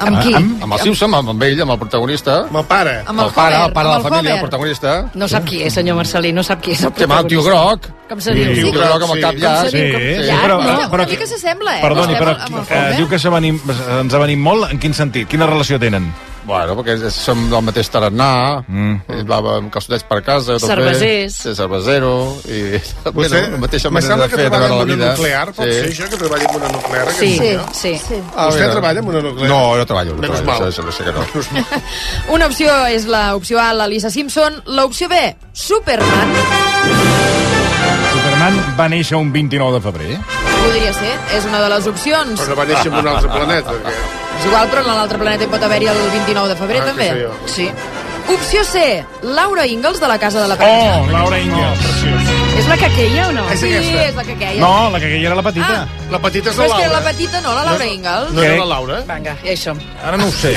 S4: Amb
S1: Ah,
S4: qui?
S22: Amb, amb el Simpson, amb, amb ell, amb el protagonista. Amb el pare.
S21: Amb el
S22: pare,
S21: Homer,
S22: el pare de
S21: amb
S22: la
S21: el
S22: família,
S21: Homer.
S22: el protagonista.
S21: No sap qui és, senyor Marcelí, no sap qui és el
S22: Té mal, tio groc.
S21: Com se diu?
S22: Sí, tio groc amb el cap llarg.
S1: Sí, sí,
S21: llarg,
S1: però,
S21: no?
S1: però,
S4: Una mica s'assembla, eh?
S1: perdoni,
S4: Estem
S1: però
S4: amb el
S1: eh,
S4: Homer.
S1: diu que s'avenim- ens ha venit molt. En quin sentit? Quina relació tenen?
S22: Bueno, perquè és- som del mateix tarannà, mm. va amb calçotets per casa... tot bé.
S21: Cervesers.
S22: Sí, cervesero, i...
S24: Vostè,
S22: bueno, la mateixa
S24: me
S22: manera
S24: sembla
S22: de
S24: que
S22: fer, de veure
S24: treballa en
S22: la
S24: una
S22: vida.
S24: nuclear, pot ser això, que treballa en una nuclear?
S21: Sí,
S24: aquest senyor?
S21: sí. sí.
S24: Vostè
S22: Ah, mira.
S24: treballa en una nuclear?
S22: No, jo treballo, no
S24: Menys
S22: treballo,
S24: mal.
S22: això, això sé que no.
S4: Una opció és la opció A, la Lisa Simpson. L'opció B, Superman.
S1: Superman va néixer un 29 de febrer.
S4: Podria ser, és una de les opcions.
S24: Però va néixer en un altre planeta. Que...
S4: És igual, però en l'altre planeta hi pot haver-hi el 29 de febrer,
S24: Ah, que
S4: també.
S24: sé jo.
S4: Sí. Opció C, Laura Ingalls, de la Casa de la Penya.
S1: Oh, Laura Ingalls.
S4: és la que queia o no?
S24: És
S4: sí,
S24: aquesta.
S4: és la que queia.
S1: No, la que aquella era la petita.
S4: Ah.
S24: La petita és
S4: Però
S24: la
S4: és que era la
S24: Laura.
S4: petita, no, la Laura Ingalls.
S24: No era
S1: Crec-
S24: la Laura?
S21: Vinga, ja hi som.
S1: Ara no ho sé.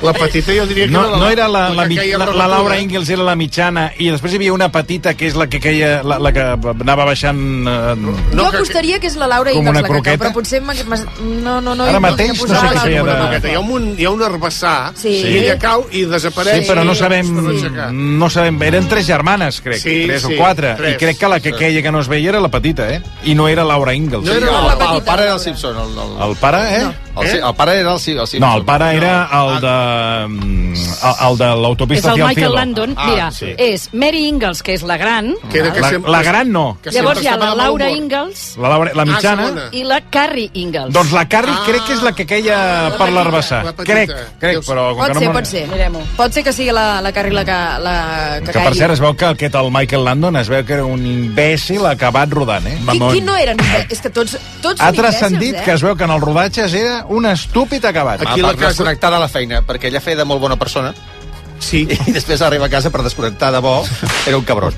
S24: La petita jo diria que
S1: no,
S24: era la,
S1: no era la, la,
S24: que
S1: la,
S24: queia
S1: la,
S24: per
S1: la Laura
S24: tura.
S1: Ingalls era la mitjana i després hi havia una petita que és la que queia, la, la que anava baixant... Eh,
S4: No, jo apostaria que... és la Laura
S1: Com
S4: Ingalls
S1: una
S4: la que cau,
S1: croqueta?
S4: però potser... m'ha- m'has- No, no, no.
S1: Ara
S4: jo
S1: mateix no sé
S4: volia posar
S1: què
S4: la
S1: feia
S4: Laura
S1: de-
S4: Ingalls.
S24: Hi ha, un, hi ha un herbassar
S4: Sí.
S24: i ella cau i desapareix.
S1: Sí, però no
S24: i-
S1: sabem... No sabem... Eren tres germanes, crec.
S24: Sí,
S1: tres
S24: sí,
S1: o quatre.
S24: tres.
S1: I crec que la que queia que no es veia era la petita, eh? I no era Laura Ingalls.
S22: No era la, el, el pare era el Simpson. El, el,
S1: El pare, eh?
S22: el, el, el pare era el, Si- el Simpson.
S1: No, Ah. el pare era el de... mm, El, el de
S21: És
S1: l'autopista
S21: el
S1: hacia el
S21: Michael
S1: cielo.
S21: Landon.
S1: Ah,
S21: Mira,
S1: sí.
S21: és Mary Ingalls, que és la gran.
S1: Que era que La- sempre- la gran no. que
S21: Llavors
S1: sempre
S21: hi ha
S1: estava
S21: la
S1: Ah, de mal
S21: Laura
S1: humor.
S21: Ingalls.
S1: La Laura- la mitjana.
S21: I la Carrie Ingalls.
S1: Doncs la Carrie crec que és la que queia per l'herbassar.
S21: Ah. la petita.
S1: Crec, crec, però... com
S4: Pot
S1: que
S4: ser,
S1: no me'n-
S4: pot ser. Pot ser que sigui la, la Carrie la que, la, que,
S1: Que per
S4: caigui.
S1: cert es veu que aquest, el Michael Landon es veu que era un imbècil acabat rodant, eh?
S4: Qui, qui no eren? És que tots, tots
S1: Ha
S4: són
S1: transcendit
S4: imbècils, eh?
S1: que es veu que en els rodatges era un estúpid acabat.
S22: Aquí la casa... desconnectar de la feina, perquè ella feia de molt bona persona.
S24: Sí.
S22: I després arriba a casa per desconnectar de bo. Era un cabron.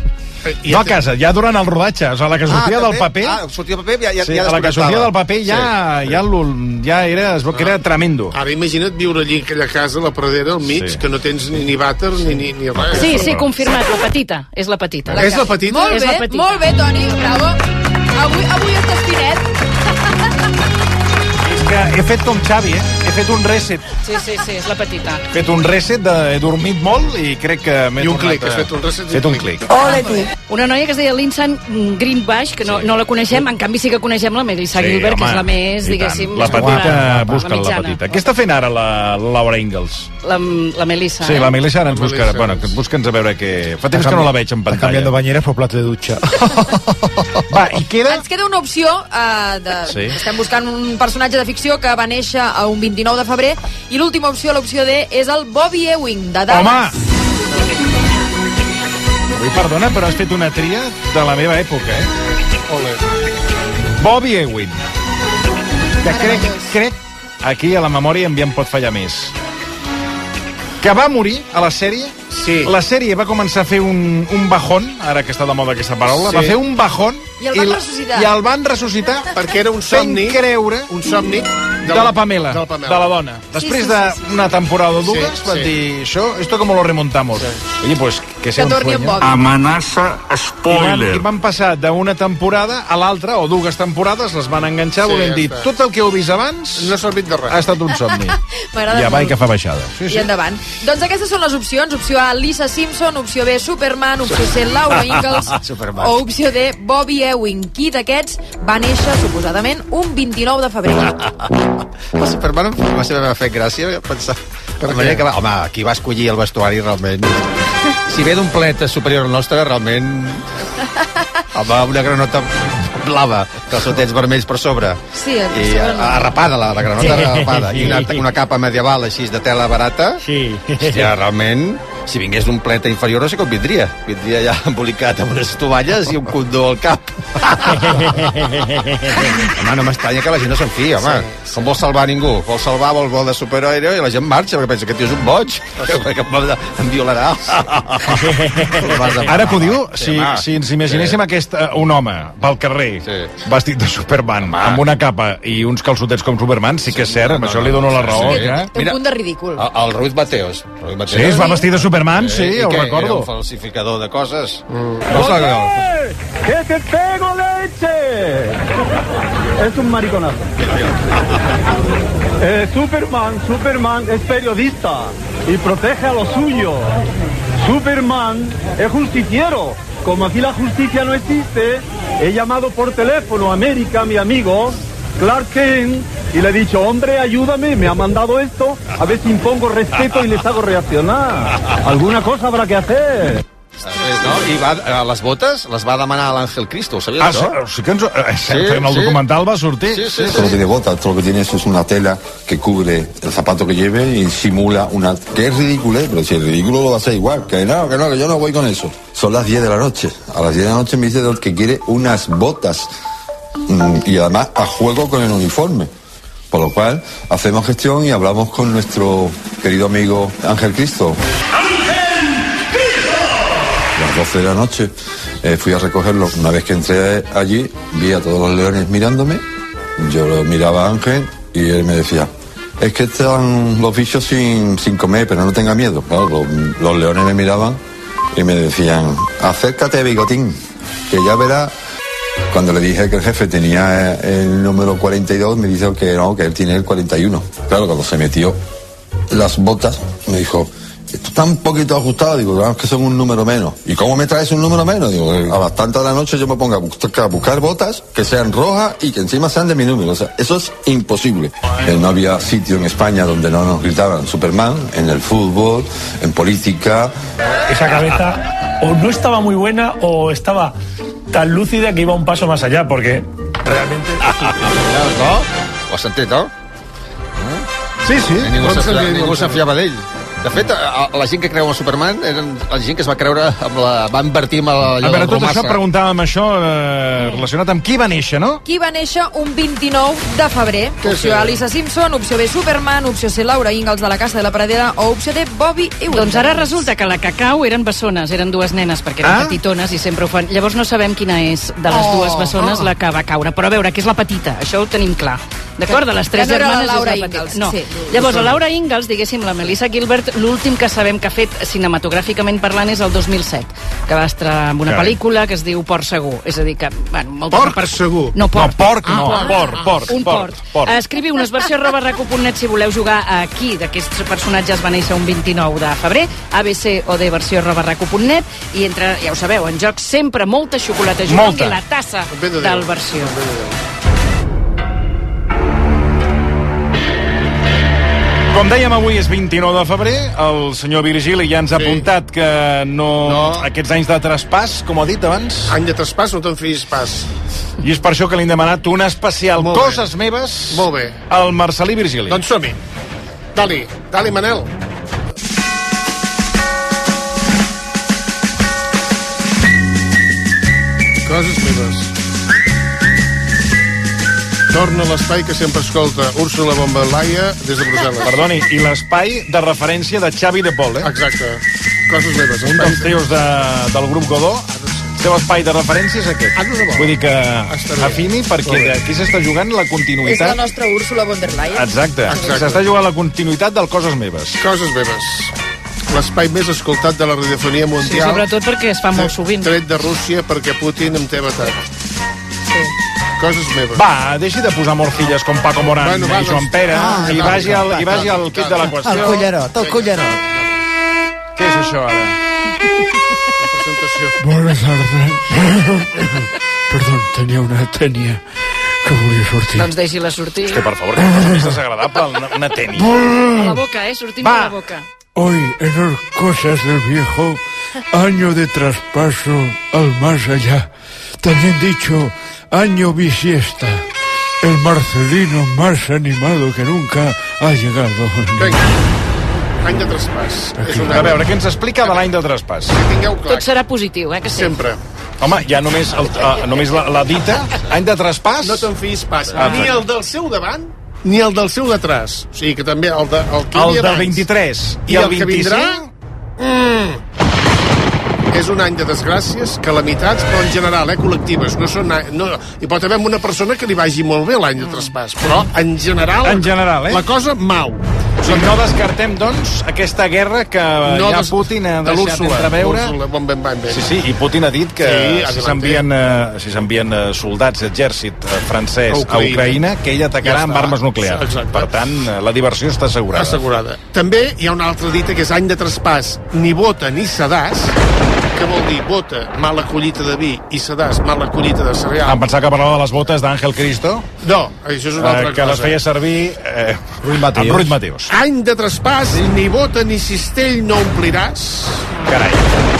S1: No a casa, ja durant el rodatge. O sigui, la que sortia del paper...
S22: Ah, sortia
S24: Eh,
S22: del paper, ja, ja,
S1: sí,
S22: ja
S1: a la que
S22: desconnectava.
S1: sortia del paper ja, ja, l'ul- ja era, es veu que era tremendo.
S24: Ara imagina't viure allí en aquella casa, a la pradera, al mig,
S1: Sí.
S24: que no tens ni, ni vàter ni, ni, ni res.
S21: Sí, sí, confirmat, la petita. És la petita.
S24: És la petita?
S4: Molt
S21: és
S4: bé,
S21: la petita.
S4: molt bé, Toni, bravo. Avui, avui estàs finet.
S1: És que he fet com Xavi, eh? He fet un reset.
S21: Sí, sí, sí, és la petita.
S1: He fet un reset, de, he dormit molt i crec que m'he
S24: I un
S1: tornat
S24: clic,
S1: a-
S24: has fet un reset i
S1: Fet
S24: un
S1: un clic.
S21: Ole, tu. Una noia que es deia Linsan Greenbash, que no, no la coneixem, en canvi sí que coneixem la Melissa
S1: Sí,
S21: Gilbert, que
S1: home,
S21: és la més,
S1: i tant.
S21: diguéssim...
S1: La
S21: més
S1: petita,
S21: popular,
S1: busca la
S21: mitjana.
S1: petita. Què està fent ara la la Laura Ingalls?
S21: La, la Melissa.
S1: Sí,
S21: eh?
S1: la Melissa ara ens buscarà. Bueno, que busca'ns a veure què... Fa temps que no la veig en pantalla.
S6: Cambiando bañeras por plato de ducha.
S1: Va, i queda...
S4: Ens queda una opció. Uh, de...
S6: Sí.
S4: sí. Estem buscant un personatge de ficció que va néixer a un 29 de febrer i l'última opció, l'opció D, és el Bobby Ewing, de Dallas.
S1: Ui, perdona, però has fet una tria de la meva època, eh? Ole. Bobby Ewing. Que crec, crec, aquí a la memòria en em pot fallar més. Que va morir a la sèrie. Sí. La sèrie va començar a fer un, un bajón, ara que està de moda aquesta paraula,
S24: Sí.
S1: sí. va fer un bajón
S24: I el van ressuscitar.
S1: I el van ressuscitar
S24: Perquè era un somni...
S1: Fent creure...
S24: Un somni...
S1: de la Pamela,
S24: De la, Pamela.
S1: dona. Després
S24: sí,
S1: d'una
S24: sí,
S1: temporada o dues,
S24: Sí,
S1: sí, van
S24: sí.
S1: dir, això, esto como lo remontamos. Oye, pues que sea Que un torni en sueño. Bobby.
S7: Amenaça
S1: I van, I van passar d'una temporada a l'altra, o dues temporades, les van enganxar,
S24: Sí,
S1: sí, volent
S24: ja
S1: dir,
S24: està.
S1: tot el que heu vist abans... No
S24: ha servit de res.
S1: Ha estat un somni.
S4: M'agrada
S1: I avall
S4: molt.
S1: que fa baixada.
S4: Sí, sí. I endavant. Doncs aquestes són les opcions. Opció A, Lisa Simpson. Opció B, Superman. Opció C, Laura Ingalls.
S1: Superman.
S4: o opció D, Bobby Ewing. Qui d'aquests va néixer, suposadament, un 29 de febrer?
S22: El Superman va ser m'ha fet gràcia pensar... Per la manera que va... Home, qui va escollir el vestuari realment... Si ve d'un planeta superior al nostre, realment... Home, una granota blava, calçotets vermells per sobre.
S4: Sí, a
S22: I
S4: sobre no.
S22: arrapada, la, la granota
S6: Sí.
S22: arrapada. I una, una capa medieval així de tela barata.
S6: Sí.
S22: Hòstia, realment, si vingués d'un planeta inferior no sé com vindria. Vindria ja embolicat amb unes tovalles i un condó al cap. home, no m'estranya que la gent no se'n fia, home. Sí, sí. No vol salvar ningú. Vol salvar, vol, vol de superhéroe i la gent marxa perquè pensa que tio és un boig, que em, va- em violarà.
S1: Ara podiu, si,
S22: home.
S1: si ens imaginéssim sí. aquest, eh, un home pel carrer, sí. vestit de Superman, home. amb una capa i uns calçotets com Superman, sí que és cert, amb això li dono la raó.
S22: Sí.
S1: Ja.
S4: Té un punt de ridícul.
S22: El, el Ruiz Mateos. Ruiz Mateos.
S1: Sí, es va vestir de Superman, sí,
S22: Eh, i
S1: ho
S22: què? Era
S1: recordo.
S22: un falsificador de coses. Mm. No sé, no.
S26: ¡Que te pego leche! Es un mariconazo. Eh, Superman, Superman es periodista y protege a los suyos. Superman es justiciero. Como aquí la justicia no existe, he llamado por teléfono a América, mi amigo, Clark Kent y le he dicho, hombre, ayúdame, me ha mandado esto, a ver si impongo respeto y les hago reaccionar. Alguna cosa habrá que hacer.
S22: Després, no? I va, eh, les botes les va demanar l'Àngel Cristo, ho sabies,
S1: Ah, sí,
S22: això?
S1: o sigui que ens, eh,
S22: Sí,
S1: fem el
S22: sí.
S1: documental, va sortir.
S22: Sí, sí,
S27: Todo lo que de bota, todo lo que tiene eso es una tela que cubre el zapato que lleve y simula una... Que es ridículo, ¿eh? pero si es ridículo lo va a hacer igual. Que no, que no, que yo no voy con eso. Son las 10 de la noche. A las 10 de la noche me dice Dol que quiere unas botas. Mm, Y además a juego con el uniforme. Por lo cual, hacemos gestión y hablamos con nuestro querido amigo Ángel Cristo. A las 12 de la noche eh, fui a recogerlo. Una vez que entré allí, vi a todos los leones mirándome. Yo lo miraba a Ángel y él me decía, es que están los bichos sin, sin comer, pero no tenga miedo. Claro, los, los leones me miraban y me decían, acércate, bigotín, que ya verás. Cuando le dije que el jefe tenía el número 42, me dijo que no, que él tiene el 41. Claro, cuando se metió las botas, me dijo, esto está un poquito ajustado, digo, claro, es que son un número menos. ¿Y cómo me traes un número menos? Digo, a las tantas de la noche yo me pongo a buscar, a buscar botas que sean rojas y que encima sean de mi número. O sea, eso es imposible. Eh, no había sitio en España donde no nos gritaban Superman, en el fútbol, en política.
S10: Esa cabeza o no estaba muy buena o estaba tan lúcida que iba un paso más allá, porque realmente...
S22: no? Ho has sentit, no?
S1: ¿Eh? Sí, sí.
S22: Ningú
S1: Pot
S22: se,
S1: ser
S22: fia,
S1: que-
S22: ningú se fiava d'ell. De fet, a- a- la gent que creu en Superman eren la gent que es va creure amb la... va invertir amb la...
S1: A veure, tot això preguntàvem això eh, relacionat amb qui va néixer, no?
S4: Qui va néixer un 29 de febrer? Opció A, Lisa Simpson, opció B, Superman, opció C, Laura Ingalls de la Casa de la Pradera o opció D, Bobby Ewing.
S21: Doncs ara resulta que la Cacau eren bessones, eren dues nenes, perquè eren
S4: Ah.
S21: petitones i sempre ho fan. Llavors no sabem quina és de les
S4: Oh,
S21: dues bessones
S4: ah.
S21: la que va caure. Però a veure, que és la petita, això ho tenim clar. D'acord? De les
S4: Que
S21: tres
S4: no era la
S21: germanes
S4: Laura
S21: és la petita.
S4: Ingalls,
S21: no.
S4: sí.
S21: Llavors, la Laura Ingalls, diguéssim, la Melissa Gilbert, l'últim que sabem que ha fet cinematogràficament parlant és el 2007, que va estar en una
S24: Carai.
S21: pel·lícula que es diu Port Segur. És a dir, que... Bueno, moltes
S24: Porc segur.
S21: No,
S24: No,
S21: porc.
S24: porc no.
S21: Ah,
S24: Porc, porc,
S21: un
S24: porc,
S21: port.
S24: porc.
S21: port. Escriviu unes versió arroba raco.net si voleu jugar a qui d'aquests personatges va néixer un 29 de febrer, ABC o de versió arroba raco.net i entre, ja ho sabeu, en joc sempre molta xocolata jugant
S24: Molta.
S21: i la tassa
S24: Bé de Déu.
S21: del versió.
S1: Com dèiem, avui és 29 de febrer. El senyor Virgili ja ens ha apuntat que no, no... Aquests anys de traspàs, com ha dit abans...
S24: Any de traspàs, no te'n fiïs pas.
S1: I és per això que li hem demanat un especial
S24: Molt bé.
S1: Coses meves
S24: Molt bé.
S1: al Marcelí Virgili.
S24: Doncs som-hi. Dali, dali, Manel. Coses meves. Torna a l'espai que sempre escolta Úrsula Bombalaia des de Brussel·les.
S1: Perdoni, i l'espai de referència de Xavi de Pol, eh?
S24: Exacte. Coses meves.
S1: Un dels teus de, del grup Godó, el seu espai de referència és aquest.
S24: Ah, no, no, no.
S1: Vull dir que
S24: bé.
S1: afini
S24: Molt
S1: perquè
S24: bé.
S1: aquí s'està jugant la
S4: És la
S1: continuïtat.
S4: nostra Úrsula von der Leyen.
S1: Exacte.
S24: Exacte.
S1: S'està jugant la continuïtat del Coses Meves.
S24: Coses meves. L'espai més escoltat de la radiofonia
S21: Sí,
S24: mundial.
S21: sobretot perquè es fa molt sovint.
S24: Tret de Rússia perquè Putin em té batat. Coses meves.
S1: Va, Ah, deixi de posar morcilles com Paco Morán
S24: Bueno, va,
S1: i Joan
S24: doncs-
S1: Pere
S24: Ah,
S1: i,
S24: va,
S1: vagi al,
S24: va,
S1: i vagi
S24: va,
S1: al
S24: va,
S1: kit de la
S24: va.
S1: qüestió.
S24: El cullerot, el
S10: cullerot.
S1: Què és això, ara?
S10: Buenas tardes. Perdón, tenia una tènia que volia sortir.
S21: Doncs deixi-la sortir.
S1: Hosti, per favor, que cosa més desagradable, una, una tènia.
S21: A la boca, eh? Sortim de la boca.
S10: Hoy, en las cosas del viejo, año de traspaso al más allá. También dicho, año bisiesta. El marcelino más animado que nunca ha llegado.
S24: Any de traspàs. És un
S1: A veure, què ens explica de l'any del traspàs?
S24: Tingueu clar.
S21: Tot serà positiu, eh? Que sí.
S24: Sempre.
S1: Home, ja només, el, uh, només la, la dita, any de traspàs...
S24: No te'n fiïs pas.
S1: Ah,
S24: Ni el del seu davant, ni el del seu detrás. O sigui que també el, de, el que hi
S1: El
S24: havia
S1: del
S24: abans
S1: 23
S24: i, el, que vindrà... Mm. És un any de desgràcies, calamitats, però en general, eh, col·lectives. No són, a- no, hi pot haver una persona que li vagi molt bé l'any de traspàs, però en general,
S1: En general, eh?
S24: la cosa mau.
S1: O sigui, no descartem, doncs, aquesta guerra que no ja Putin ha
S24: de
S1: deixat
S24: l'Úrsula,
S1: entreveure.
S24: l'Úrsula, Bon ben, ben, ben.
S1: Sí, sí, i Putin ha dit que
S24: Sí,
S1: sí, si
S24: adelante.
S1: s'envien eh, si s'envien eh, soldats d'exèrcit eh, francès
S24: A
S1: a Ucraïna,
S24: Ucraïna,
S1: a Ucraïna que ell atacarà
S24: Ja
S1: ja amb
S24: està.
S1: armes nuclears.
S24: Exacte.
S1: Per tant, eh, la diversió està assegurada.
S24: Assegurada. També hi ha una altra dita que és any de traspàs, ni bota ni sedàs, que vol dir bota, mala collita de vi, i sedàs, mala collita de cereal.
S1: Em pensava que parlava de les botes d'Àngel Cristo.
S24: No, això és una altra
S1: eh, que les
S24: cosa.
S1: feia servir eh, Ruiz
S24: Mateus.
S1: amb Ruiz Mateus.
S24: Any de traspàs, ni bota ni cistell no ompliràs.
S1: Carai.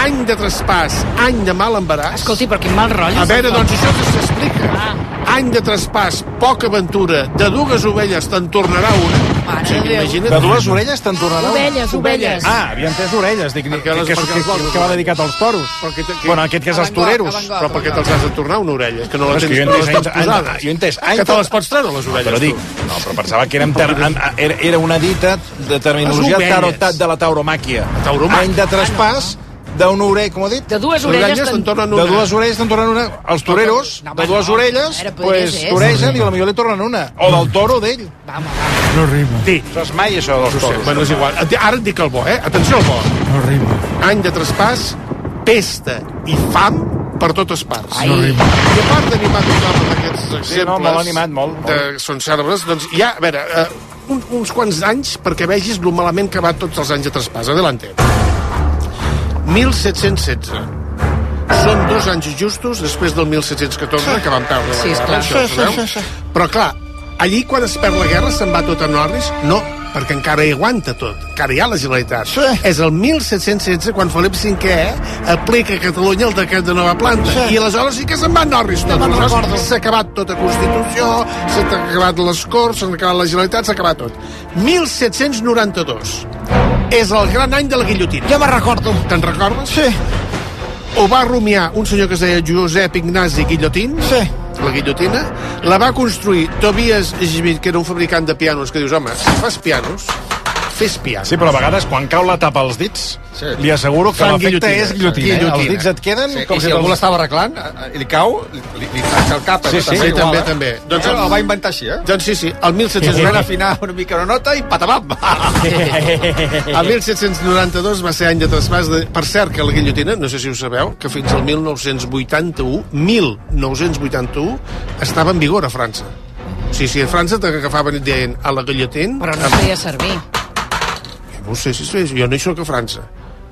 S24: Any de traspàs, any de mal embaràs.
S21: Escolti, però quin mal rotllo. Ah.
S24: A veure, doncs això que s'explica. Any de traspàs, poca aventura, de dues ovelles te'n tornarà una. Mare o sigui, imagina't.
S22: De dues orelles te'n tornarà una?
S21: Ovelles, ovelles.
S1: Ah, havia entès orelles. Dic, dic,
S24: Perquè les-
S1: que, és-
S24: perquè els
S1: que,
S24: vols,
S1: que va dedicat als toros.
S24: Perquè te- que-
S1: Bueno, aquest que és als toreros.
S24: Però per què te'ls has de tornar una orella? És que no
S1: No,
S24: la
S1: és
S24: tens,
S1: que jo he
S24: no les
S1: entès
S24: tens
S1: anys- any-
S24: posades.
S1: jo he entès
S24: Que
S1: anys-
S24: te les pots treure, les
S1: No,
S24: orelles,
S1: però dic,
S24: tu.
S1: no, però pensava que érem ter, en, era, era una dita de terminologia
S24: Les ovelles.
S1: tarotat de la tauromàquia.
S24: Tauromàquia.
S1: Any de traspàs d'un orell, com ha dit?
S21: De dues orelles te'n-
S1: De dues orelles te'n tornen una. Els toreros,
S21: No, home,
S1: de dues
S21: no.
S1: orelles,
S21: Era, podria
S1: pues,
S21: ser, sí.
S1: toregen i a la millor li tornen una. O del toro d'ell.
S10: No rima.
S1: Sí. No és mai això dels
S24: No sé,
S1: toros.
S24: bueno, és igual. Et- Ara et dic el bo, eh? Atenció al bo.
S10: No rima.
S24: Any de traspàs, pesta i fam per totes parts.
S10: No rima.
S24: I a part d'animar tothom amb aquests exemples...
S1: no, molt animat, molt, molt.
S24: De, són cèrbres, doncs hi ha, a veure, eh, un, uns quants anys perquè vegis lo malament que va tots els anys de traspàs. Adelante. 1716. Són dos anys justos després del 1714 que van perdre la
S9: Sí,
S24: guerra.
S9: esclar.
S24: Això, ho
S9: Sí,
S24: sabeu?
S9: sí, sí, sí.
S24: Però clar, allí quan es perd la guerra se'n va tot a Norris? No, perquè encara hi aguanta tot, encara hi ha la Generalitat. Sí. És el 1716 quan Felip V aplica a Catalunya el decret de nova planta.
S9: Sí.
S24: I aleshores sí que se'n va a Norris. tot.
S9: me'n
S24: Aleshores
S9: recordo.
S24: S'ha acabat tota Constitució, s'ha acabat les Corts, s'ha acabat la Generalitat, s'ha acabat tot. 1792 és el gran any de la guillotina. Ja me'n recordo. Te'n recordes? Sí. Ho va rumiar un senyor que es deia Josep Ignasi Guillotín. Sí. La guillotina. La va construir Tobias Schmidt, que era un fabricant de pianos, que dius, home, si fas pianos, fes pianos.
S1: Sí, però a vegades quan cau la tapa als dits,
S24: Sí.
S1: li asseguro que
S24: Fan
S1: l'efecte
S24: guillotina.
S1: és guillotina. Eh? Els
S24: Guillotina.
S1: dits et queden...
S24: Sí,
S22: I si
S1: te'ls-
S22: algú l'estava arreglant, eh, li cau, li, li, li trenca el cap. eh?
S24: Sí, sí, sí,
S22: igual,
S24: també,
S22: eh?
S24: també.
S22: Doncs el, va inventar així, eh?
S24: Doncs sí, sí, el
S22: Si van
S24: 1792...
S22: afinar una mica una nota i patabam!
S24: El 1792 va ser any de traspàs de... Per cert, que la guillotina, no sé si ho sabeu, que fins al 1981, 1981, estava en vigor a França. O sigui, si a França t'agafaven i et deien a la guillotina...
S21: Però no es feia servir.
S24: No ho sé si es feia, jo no hi soc a França.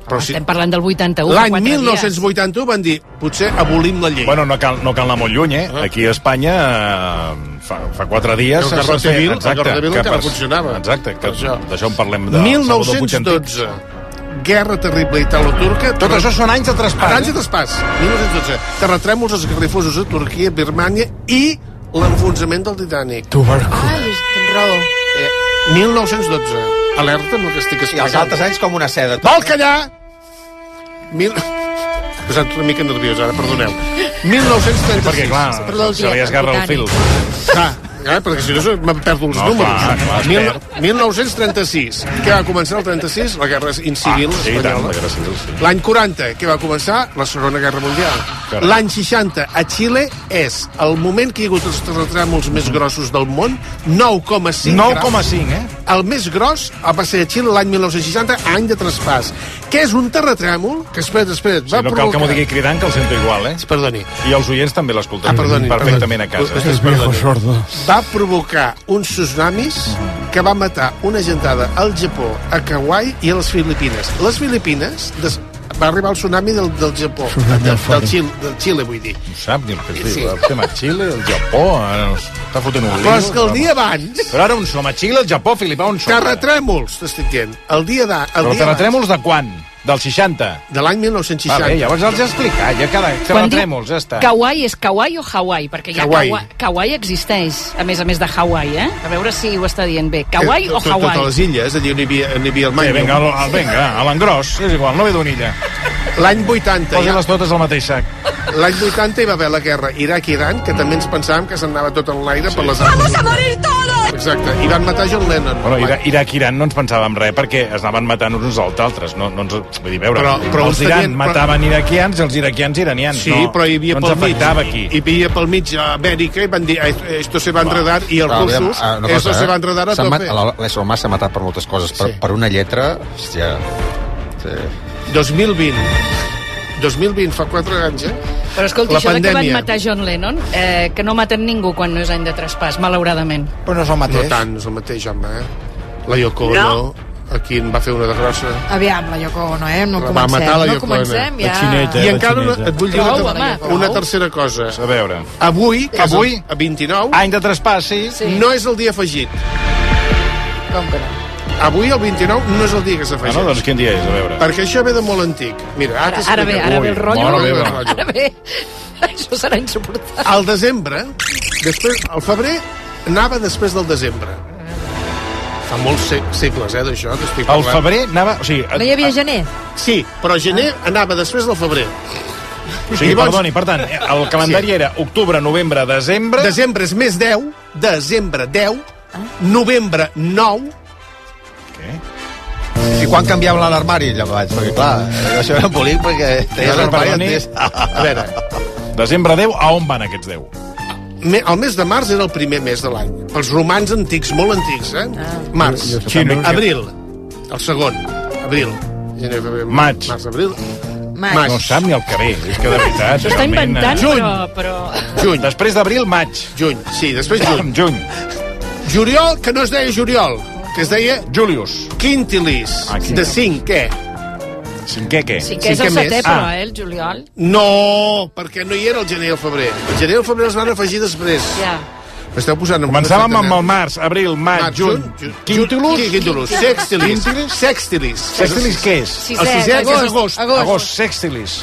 S24: Però si...
S21: Estem parlant del 81.
S24: L'any
S21: Ah, quatre dies.
S24: 1981 van dir, potser abolim la llei.
S1: Bueno, no cal, no cal anar molt lluny, eh? Aquí a Espanya, eh, fa, fa quatre dies...
S24: El
S1: se'ns va fer-
S24: Garrotevil- el
S1: exacte,
S24: Garrotevil
S1: que
S24: encara
S1: per-
S24: funcionava.
S1: Exacte, que d'això en parlem de... Salvador Puig Antich.
S24: 1912. Guerra terrible italo-turca.
S1: Tot això són anys de traspàs,
S24: Anys de traspàs. 1912. Terratrèmols, esgarrifosos a Turquia, Birmània i l'enfonsament del Titanic.
S1: Ah,
S24: Eh,
S10: Tubercle.
S4: Ai, tens raó.
S24: 1912. Alerta amb el que estic explicant.
S22: els altres anys com una seda.
S24: Vol callar! Mil... He posat una mica nerviós ara, perdoneu. 1936.
S1: Sí, perquè, clar, Perdó el se dia, li esgarra el fil.
S24: Clar, clar, eh, perquè si no se- me'n perdo els
S1: No,
S24: números.
S1: clar, clar, es
S24: Mil,
S1: perd.
S24: 1936, que va començar el 36, la guerra incivil
S1: Ah, sí, i tant,
S24: espanyola.
S1: la Guerra Civil, sí.
S24: L'any 40, que va començar la Segona Guerra Mundial.
S1: Carai.
S24: L'any 60, a Xile, és el moment que hi ha hagut els terratrèmols
S1: Mm.
S24: més grossos del món, 9,5
S1: 9,5, eh?
S24: El més gros va ser a Xile l'any 1960, any de traspàs, que és un terratrèmol que, espera, espera, va
S1: Sí, no cal que m'ho digui cridant, que el sento igual, eh?
S24: Perdoni.
S1: I els oients també l'escolten
S24: Ah, perdoni,
S1: perfectament
S24: perdoni.
S1: a
S24: Vostè
S1: casa.
S24: és viejo
S10: sordo.
S24: va provocar uns tsunamis que va matar una gentada al Japó, a Kauai i a les Filipines. Les Filipines des... va arribar el tsunami del, del Japó,
S1: Tsunami
S24: del,
S1: al fort.
S24: del, Xile, del Xile, vull dir.
S1: No sap ni el que es diu.
S24: Sí.
S1: El tema Xile, el Japó, ara ens està fotent un lío.
S24: Però és que el dia abans...
S1: Però ara on som? A Xile, al Japó, Filipà, on som?
S24: Terratrèmols, t'estic dient. El dia de... El
S1: Però
S24: dia abans,
S1: terratrèmols de quan? Del 60?
S24: de l'any 1960.
S1: Va bé, llavors els he explicat. Ja cada
S21: Quan diu
S1: terratrèmols, ja està.
S21: Kauai és Kauai o Hawaii? Perquè ja
S1: Kauai.
S21: Kauai. Kauai existeix, a més a més de Hawaii, eh? A veure si ho està dient bé. Kauai
S24: Eh,
S21: o
S24: tot- Totes
S21: Hawaii?
S24: les illes, allà on hi havia, on hi havia el
S1: Sí,
S24: mango.
S1: vinga, al, al, vinga, a l'engròs, és igual, no ve d'una illa.
S24: L'any 80...
S1: Posa-les totes al mateix sac.
S24: L'any 80 hi va haver la guerra Iraq-Iran, que també ens pensàvem que s'anava tot en l'aire per les armes. Vamos a morir todos! Exacte, i van matar John Lennon.
S1: Bueno, Ira- Iraq i Iran no ens pensàvem res perquè es anaven matant uns als altres. No, no ens, vull dir, veure,
S24: Però- però
S1: els
S24: uns
S1: d'Iran
S24: tenien-
S1: mataven iraquians i els iraquians iranians.
S24: Sí,
S1: no,
S24: però hi havia
S1: no ens
S24: pel mig,
S1: afectava aquí.
S24: hi havia pel mig a Amèrica i van dir, "Eh, esto se va a enredar, i els
S22: Però, aviam,
S24: russos,
S22: ah, una
S24: esto
S22: cosa,
S24: se
S22: eh?
S24: va a enredar a
S22: S'ha mat-
S24: tope.
S22: la- L'ésser humà s'ha matat per moltes coses. Per, per una lletra, hòstia... Sí.
S24: 2020. 2020, fa 4 anys, eh?
S21: Però escolta,
S24: la
S21: això de que van
S24: pandèmia.
S21: matar John Lennon, eh, que no maten ningú quan no és any de traspàs, malauradament.
S24: Però no és el mateix. No tant, no és el mateix, home, eh? La Yoko, no.
S21: No.
S24: no. a qui en va fer una de grossa.
S4: Aviam, la Yoko Ono, eh? No
S24: La va
S4: comencem,
S24: matar la
S4: no
S24: Yoko Ono.
S4: comencem, ja.
S24: La xineta, I encara una, et vull dir
S4: Prou,
S24: una,
S4: home,
S24: ter- una
S4: prou.
S24: tercera cosa.
S1: A veure.
S24: Avui, que
S1: Avui?
S24: és el, a 29... Any
S1: de traspàs, sí.
S24: sí. No és el dia afegit.
S4: Com que no?
S24: Avui, el 29, no és el dia que
S1: Ah,
S24: s'afegeix.
S1: no, doncs quin dia és? A veure.
S24: Perquè això ve de molt antic. Mira, ara,
S4: Ara, ara ve, ara ve el rotllo.
S24: Ara ve el rotllo.
S4: Ara ve. Això serà insuportable.
S24: Al desembre, després, al febrer, anava després del desembre. Fa molts se- segles, eh, d'això, t'estic
S1: El
S24: parlant.
S1: febrer anava... O sigui, eh,
S4: No hi havia gener?
S24: Sí, però gener anava després del febrer.
S1: o sigui perdoni, eh? per tant, el calendari era octubre, novembre, desembre...
S24: Desembre és més 10, desembre 10,
S4: Ah.
S24: novembre 9,
S22: I quan canviàvem l'armari, llavors? Perquè, clar, això era un bolic, perquè tenies
S1: Perdoni.
S22: l'armari... Tenies...
S24: A veure.
S1: Desembre 10, a on van aquests 10?
S24: me- el mes de març era el primer mes de l'any. Pels romans antics, molt antics, eh?
S21: Ah.
S24: Març.
S1: Jo- jo sé també.
S24: Abril, el segon. Abril. Gener, febrer,
S1: Maig.
S24: Març, abril.
S4: Maig.
S1: No sap ni el que ve, és que de veritat...
S21: S'ho està
S1: realment, eh?
S21: inventant,
S1: Juny,
S21: però... però...
S24: Juny.
S1: Després d'abril, maig.
S24: Juny, sí, després juny.
S1: juny.
S24: Juliol, que no es deia juliol, que es deia...
S1: Julius.
S24: Quintilis.
S1: Ah,
S24: de
S1: quintilis.
S24: cinc, què?
S1: Cinquè Ah. què?
S21: Sí que és el setè, però, eh, el juliol.
S24: No, perquè no hi era el gener i el febrer. El gener i el febrer es van afegir després.
S21: Ja.
S24: M'esteu posant... en
S1: Començàvem
S24: una
S1: amb el
S24: setmana.
S1: març, abril, maig,
S24: Març,
S1: juny,
S24: juny, juny,
S1: quintulus...
S24: qui- quintulus, sextilis, sextilis.
S1: Sextilis què és?
S24: Sisè, El sisè, que és agost, agost. agost.
S1: Agost, sextilis.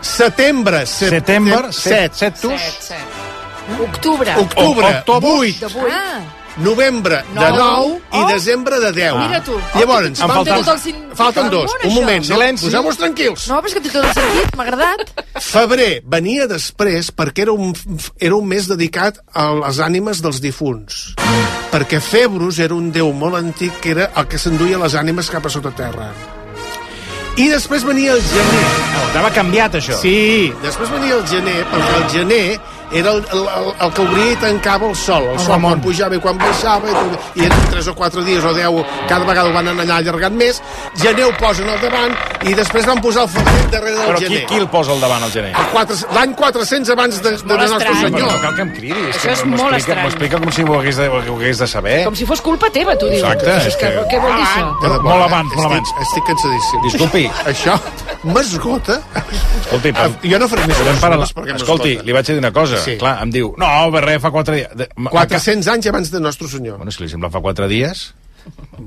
S24: Setembre. set-
S1: Setembre,
S24: set.
S1: set, septus.
S4: Set, set. Octubre.
S24: Octubre, vuit.
S4: De vuit. Ah,
S24: Novembre de
S4: Nou.
S24: 9 i desembre de 10.
S4: Oh. Ah. Mira tu. Oh,
S24: Llavors,
S4: Em falten-
S24: falten,
S4: Tot el cin-
S24: falten dos.
S4: Bon,
S24: Un
S4: això.
S24: moment, no?
S4: Silenci.
S24: Poseu-vos tranquils.
S4: no, però és que té tot el sentit, m'ha agradat.
S24: Febrer venia després perquè era un, era un mes dedicat a les ànimes dels difunts. Perquè Februs era un déu molt antic que era el que s'enduia les ànimes cap a sota terra. I després venia el gener.
S1: No, Estava Oh, canviat, això.
S24: Sí, després venia el gener, perquè el gener era el, el, el, el que obria i tancava el sol. El sol quan pujava i quan baixava, i, tot- i eren 3 o 4 dies o 10, cada vegada ho van anar allargant més. Gener ho posen al davant i després van posar el febrer darrere del
S1: Però
S24: gener.
S1: qui, qui el posa al davant, al gener?
S24: El quatre- L'any 400 abans de, de, de Nostre
S1: Però no
S24: Senyor.
S1: cal que em cridi.
S21: Això
S1: que
S21: és
S1: m'ho
S21: molt
S1: explica-
S21: estrany.
S1: M'ho explica com si ho hagués de, ho hagués de saber.
S21: Com si fos culpa teva, tu dius.
S1: Eh? Exacte,
S21: És
S1: és
S21: que,
S1: que-
S21: Què vol dir això?
S24: De debò,
S1: Molt
S24: eh?
S1: abans, molt abans.
S24: Estic, estic cansadíssim.
S1: Disculpi.
S24: Això m'esgota.
S1: Escolti,
S24: Ah, Jo no faré més
S1: podem
S24: coses,
S1: parar la...
S24: perquè m'esgota.
S1: Escolti, li vaig dir una cosa.
S24: Sí.
S1: Sí. Clar, em diu, no, Berrer, fa quatre dies. De- m-
S24: 400 anys abans de Nostre Senyor.
S1: Bueno, si li sembla fa 4 dies...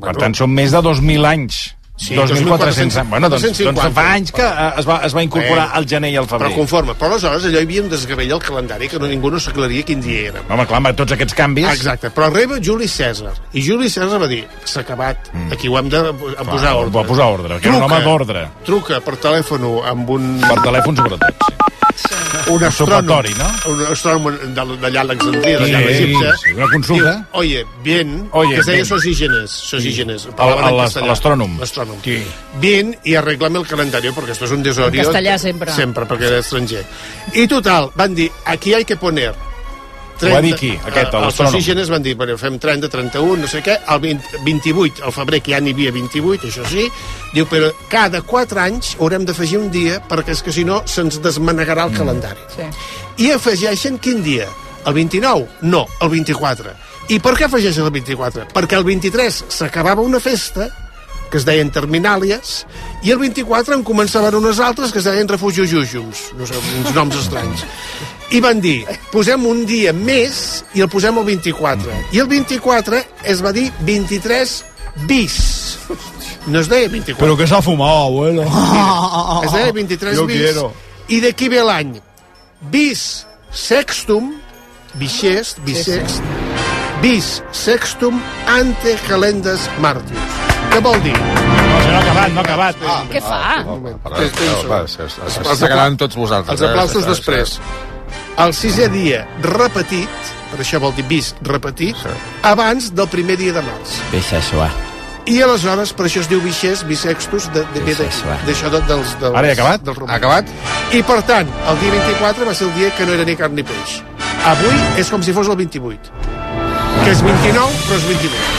S1: Per tant, són més de 2.000 anys.
S24: Sí,
S1: 2.400 anys. Bueno, doncs, doncs
S24: 250.
S1: fa anys que eh, es va, es va incorporar al gener i al
S24: Però
S1: febrer.
S24: conforme. Però aleshores allò hi havia un desgavell al calendari que no, ningú no s'aclaria quin dia era.
S1: Home, clar, amb tots aquests canvis...
S24: Exacte, però arriba Juli César i Juli César va dir, s'ha acabat mm. aquí ho hem de a posar
S1: ho
S24: ordre
S1: va posar ordre, que era un home d'ordre.
S24: truca per telèfon amb un
S1: Per telèfon, sobretot.
S24: un astrònom,
S1: Supatori, no?
S24: un astrònom de- d'allà a Alexandria,
S1: Sí,
S24: d'allà a l'Egipte.
S1: sí, una consulta.
S24: Diu, Oye, bien,
S1: Oye,
S24: que es deia
S1: bien.
S24: Sosígenes. Sosígenes.
S1: A- a l'as- a l'astrònom.
S24: L'astrònom. Sí. Bien y arreglame el calendario, porque esto es un desori.
S21: En castellà, sempre.
S24: Sempre, perquè era estranger. I total, van dir, aquí hay que poner...
S1: Ho va dir qui, aquest,
S24: eh, els
S1: l'astrònom?
S24: oxígenes van dir, bueno, fem 30, 31, no sé què, el 20, 28, al febrer, que ja n'hi havia 28, això sí, diu, però cada 4 anys haurem d'afegir un dia, perquè és que si no se'ns desmanegarà el
S28: Mm.
S24: calendari.
S21: Sí.
S24: I afegeixen quin dia? El 29? No, el 24. I per què afegeixen el 24? Perquè el 23 s'acabava una festa que es deien Terminàlies, i el 24 en començaven unes altres que es deien Refugi Jújums, no sé, uns noms estranys. I van dir, posem un dia més i el posem el 24. I el 24 es va dir 23 bis. No es deia 24.
S25: Pero que se ha fumado, abuelo.
S1: Oh,
S24: Es deia 23
S25: Yo
S24: bis.
S25: quiero.
S24: I d'aquí ve l'any. Bis sextum, bixest, bisext, bis sextum ante calendes martius. Què vol dir?
S1: No, no ha acabat, no ha acabat. Ah,
S21: Què fa?
S24: Tres, tres,
S22: Però,
S24: un.
S22: va, se- se-
S24: Els
S22: S'està quedant tots vosaltres.
S24: Els
S22: eh?
S24: aplausos
S22: S'està-
S24: després. El sisè dia repetit, per això vol dir bis repetit, abans del primer dia de març.
S9: Deixa suar.
S24: I aleshores, per això es diu bixers, bisextus, de, de, de, de, d'això de, dels, dels,
S1: Ara he acabat?
S24: dels romans.
S22: Ha acabat?
S24: I per tant, el dia 24 va ser el dia que no era ni carn ni peix. Avui és com si fos el 28. Que és 29, però és 28.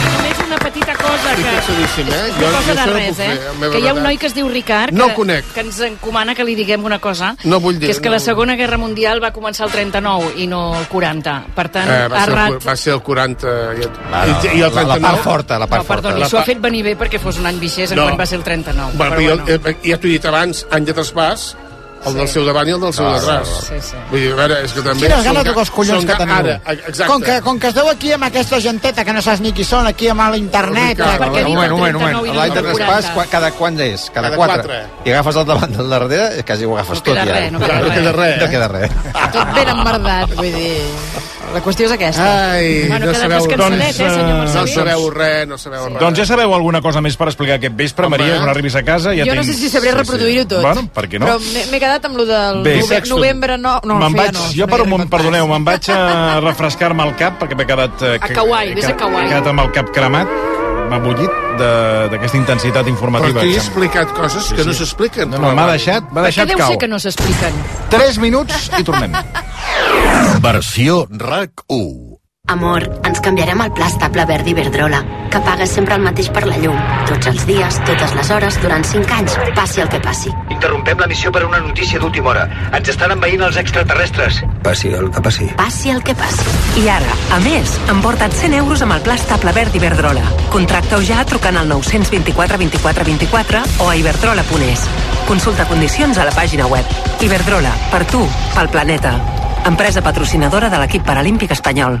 S21: Només una petita cosa
S24: Estic
S21: que-
S24: cansadíssim, eh?
S21: No
S24: Jo- jo
S21: passa de
S24: això no
S21: res,
S24: puc
S21: eh?
S24: fer, la meva
S21: Que hi ha un
S24: veritat.
S21: noi que es diu Ricard...
S24: No
S21: que,
S24: conec.
S21: Que ens encomana que li diguem una cosa.
S24: No vull dir,
S21: Que és que
S24: no
S21: la
S24: vull dir.
S21: Segona Guerra Mundial va començar el 39 i no el 40. Per tant,
S24: Eh, va,
S21: ha
S24: ser el,
S21: rat...
S24: cu- va ser el 40 i,
S22: Va,
S24: i,
S22: no,
S24: i el
S22: la-
S24: 39.
S22: la part forta, la part
S21: No, perdoni,
S24: La
S21: s'ho ha
S24: part-
S21: fet venir bé perquè fos un any vigés en
S24: No.
S21: quan va ser el 39.
S24: Bueno,
S21: però
S24: però jo, eh, ja t'ho he dit abans, any de traspàs, el del seu davant i el del seu
S22: Clar,
S24: darrere.
S22: clar, clar. Sí, sí.
S24: Vull dir, a veure, és que també...
S6: Quines
S24: són
S6: ganes de
S24: ga-
S6: dos collons
S24: són
S6: que
S24: ga-
S6: teniu.
S24: Ara, a- exacte.
S6: Com que, com que esteu aquí amb aquesta genteta que no saps ni qui són, aquí amb
S4: Eh,
S6: l'internet... eh,
S22: Ricard,
S6: aquí-
S22: un moment, un moment, un moment.
S6: i no
S22: L'any de
S6: el
S22: traspàs,
S6: 40.
S22: qua- cada quant és? Cada,
S6: Cada
S22: quatre.
S6: quatre.
S22: I agafes el davant del darrere, és quasi ho agafes
S4: No queda
S22: tot ja. eh?
S4: res, no queda res.
S22: No queda res.
S4: Tot ben emmerdat, vull dir... La qüestió és aquesta.
S24: Ai, no
S4: bueno, queda
S24: sabeu, doncs,
S4: més cançonet, eh, senyor
S24: no
S4: Marcelí?
S24: sabeu res, no sabeu res.
S1: Doncs ja sabeu alguna cosa més per explicar aquest vespre,
S24: Home.
S1: Maria, quan arribis a casa. Ja
S4: jo no sé
S1: tens-
S4: si sabré
S1: Sí, sí.
S4: reproduir-ho tot.
S1: Bueno, per què no?
S4: Però m'he m'he quedat amb lo del
S1: Bé.
S4: nove
S1: Sexto.
S4: novembre... No, no,
S1: me'n
S4: això ja
S1: vaig,
S4: no,
S1: jo, per un moment, perdoneu, me'n vaig a refrescar-me el cap perquè m'he quedat... eh,
S21: A
S1: que-
S21: Kauai, vés a
S1: que-
S21: Kauai.
S1: He quedat amb el cap cremat, m'ha bullit de- d'aquesta intensitat
S24: Però
S1: informativa.
S24: t'hi he
S1: em sembla.
S24: explicat coses
S1: Sí,
S24: que
S1: sí.
S24: no s'expliquen.
S1: No, no, m'ha deixat, m'ha
S21: Per
S1: deixat
S21: què deu
S1: cau.
S21: ser que no s'expliquen?
S1: 3 minuts i tornem.
S7: Versió RAC1.
S9: Amor, ens canviarem el pla estable verd d'Iberdrola, que pagues sempre el mateix per la llum, tots els dies, totes les hores, durant 5 anys, passi el que passi.
S8: Interrompem la missió per una notícia d'última hora. Ens estan envaint els extraterrestres.
S11: Passi el que passi.
S9: Passi el que passi.
S13: I ara, a més, emporta't 100 euros amb el pla estable verd Iberdrola. Contracta-ho ja trucant al 924 24 24 o a iberdrola.es. Consulta condicions a la pàgina web. Iberdrola, per tu, pel planeta. Empresa patrocinadora de l'equip paralímpic espanyol.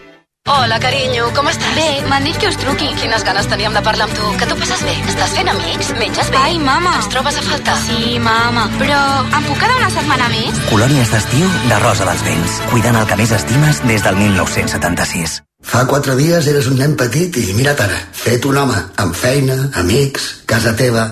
S13: Hola, carinyo, com estàs?
S29: Bé, m'han dit que us truqui.
S13: Quines ganes teníem de parlar amb tu. Que tu passes bé? Estàs fent amics? Menges
S29: Ai, mama.
S13: Ens trobes a faltar?
S29: Sí, mama, però em puc quedar una setmana més?
S11: Colònies d'estiu de Rosa dels Vents, cuidant el que més estimes des del 1976.
S30: Fa quatre dies eres un nen petit i mira't ara, fet un home, amb feina, amics, casa teva...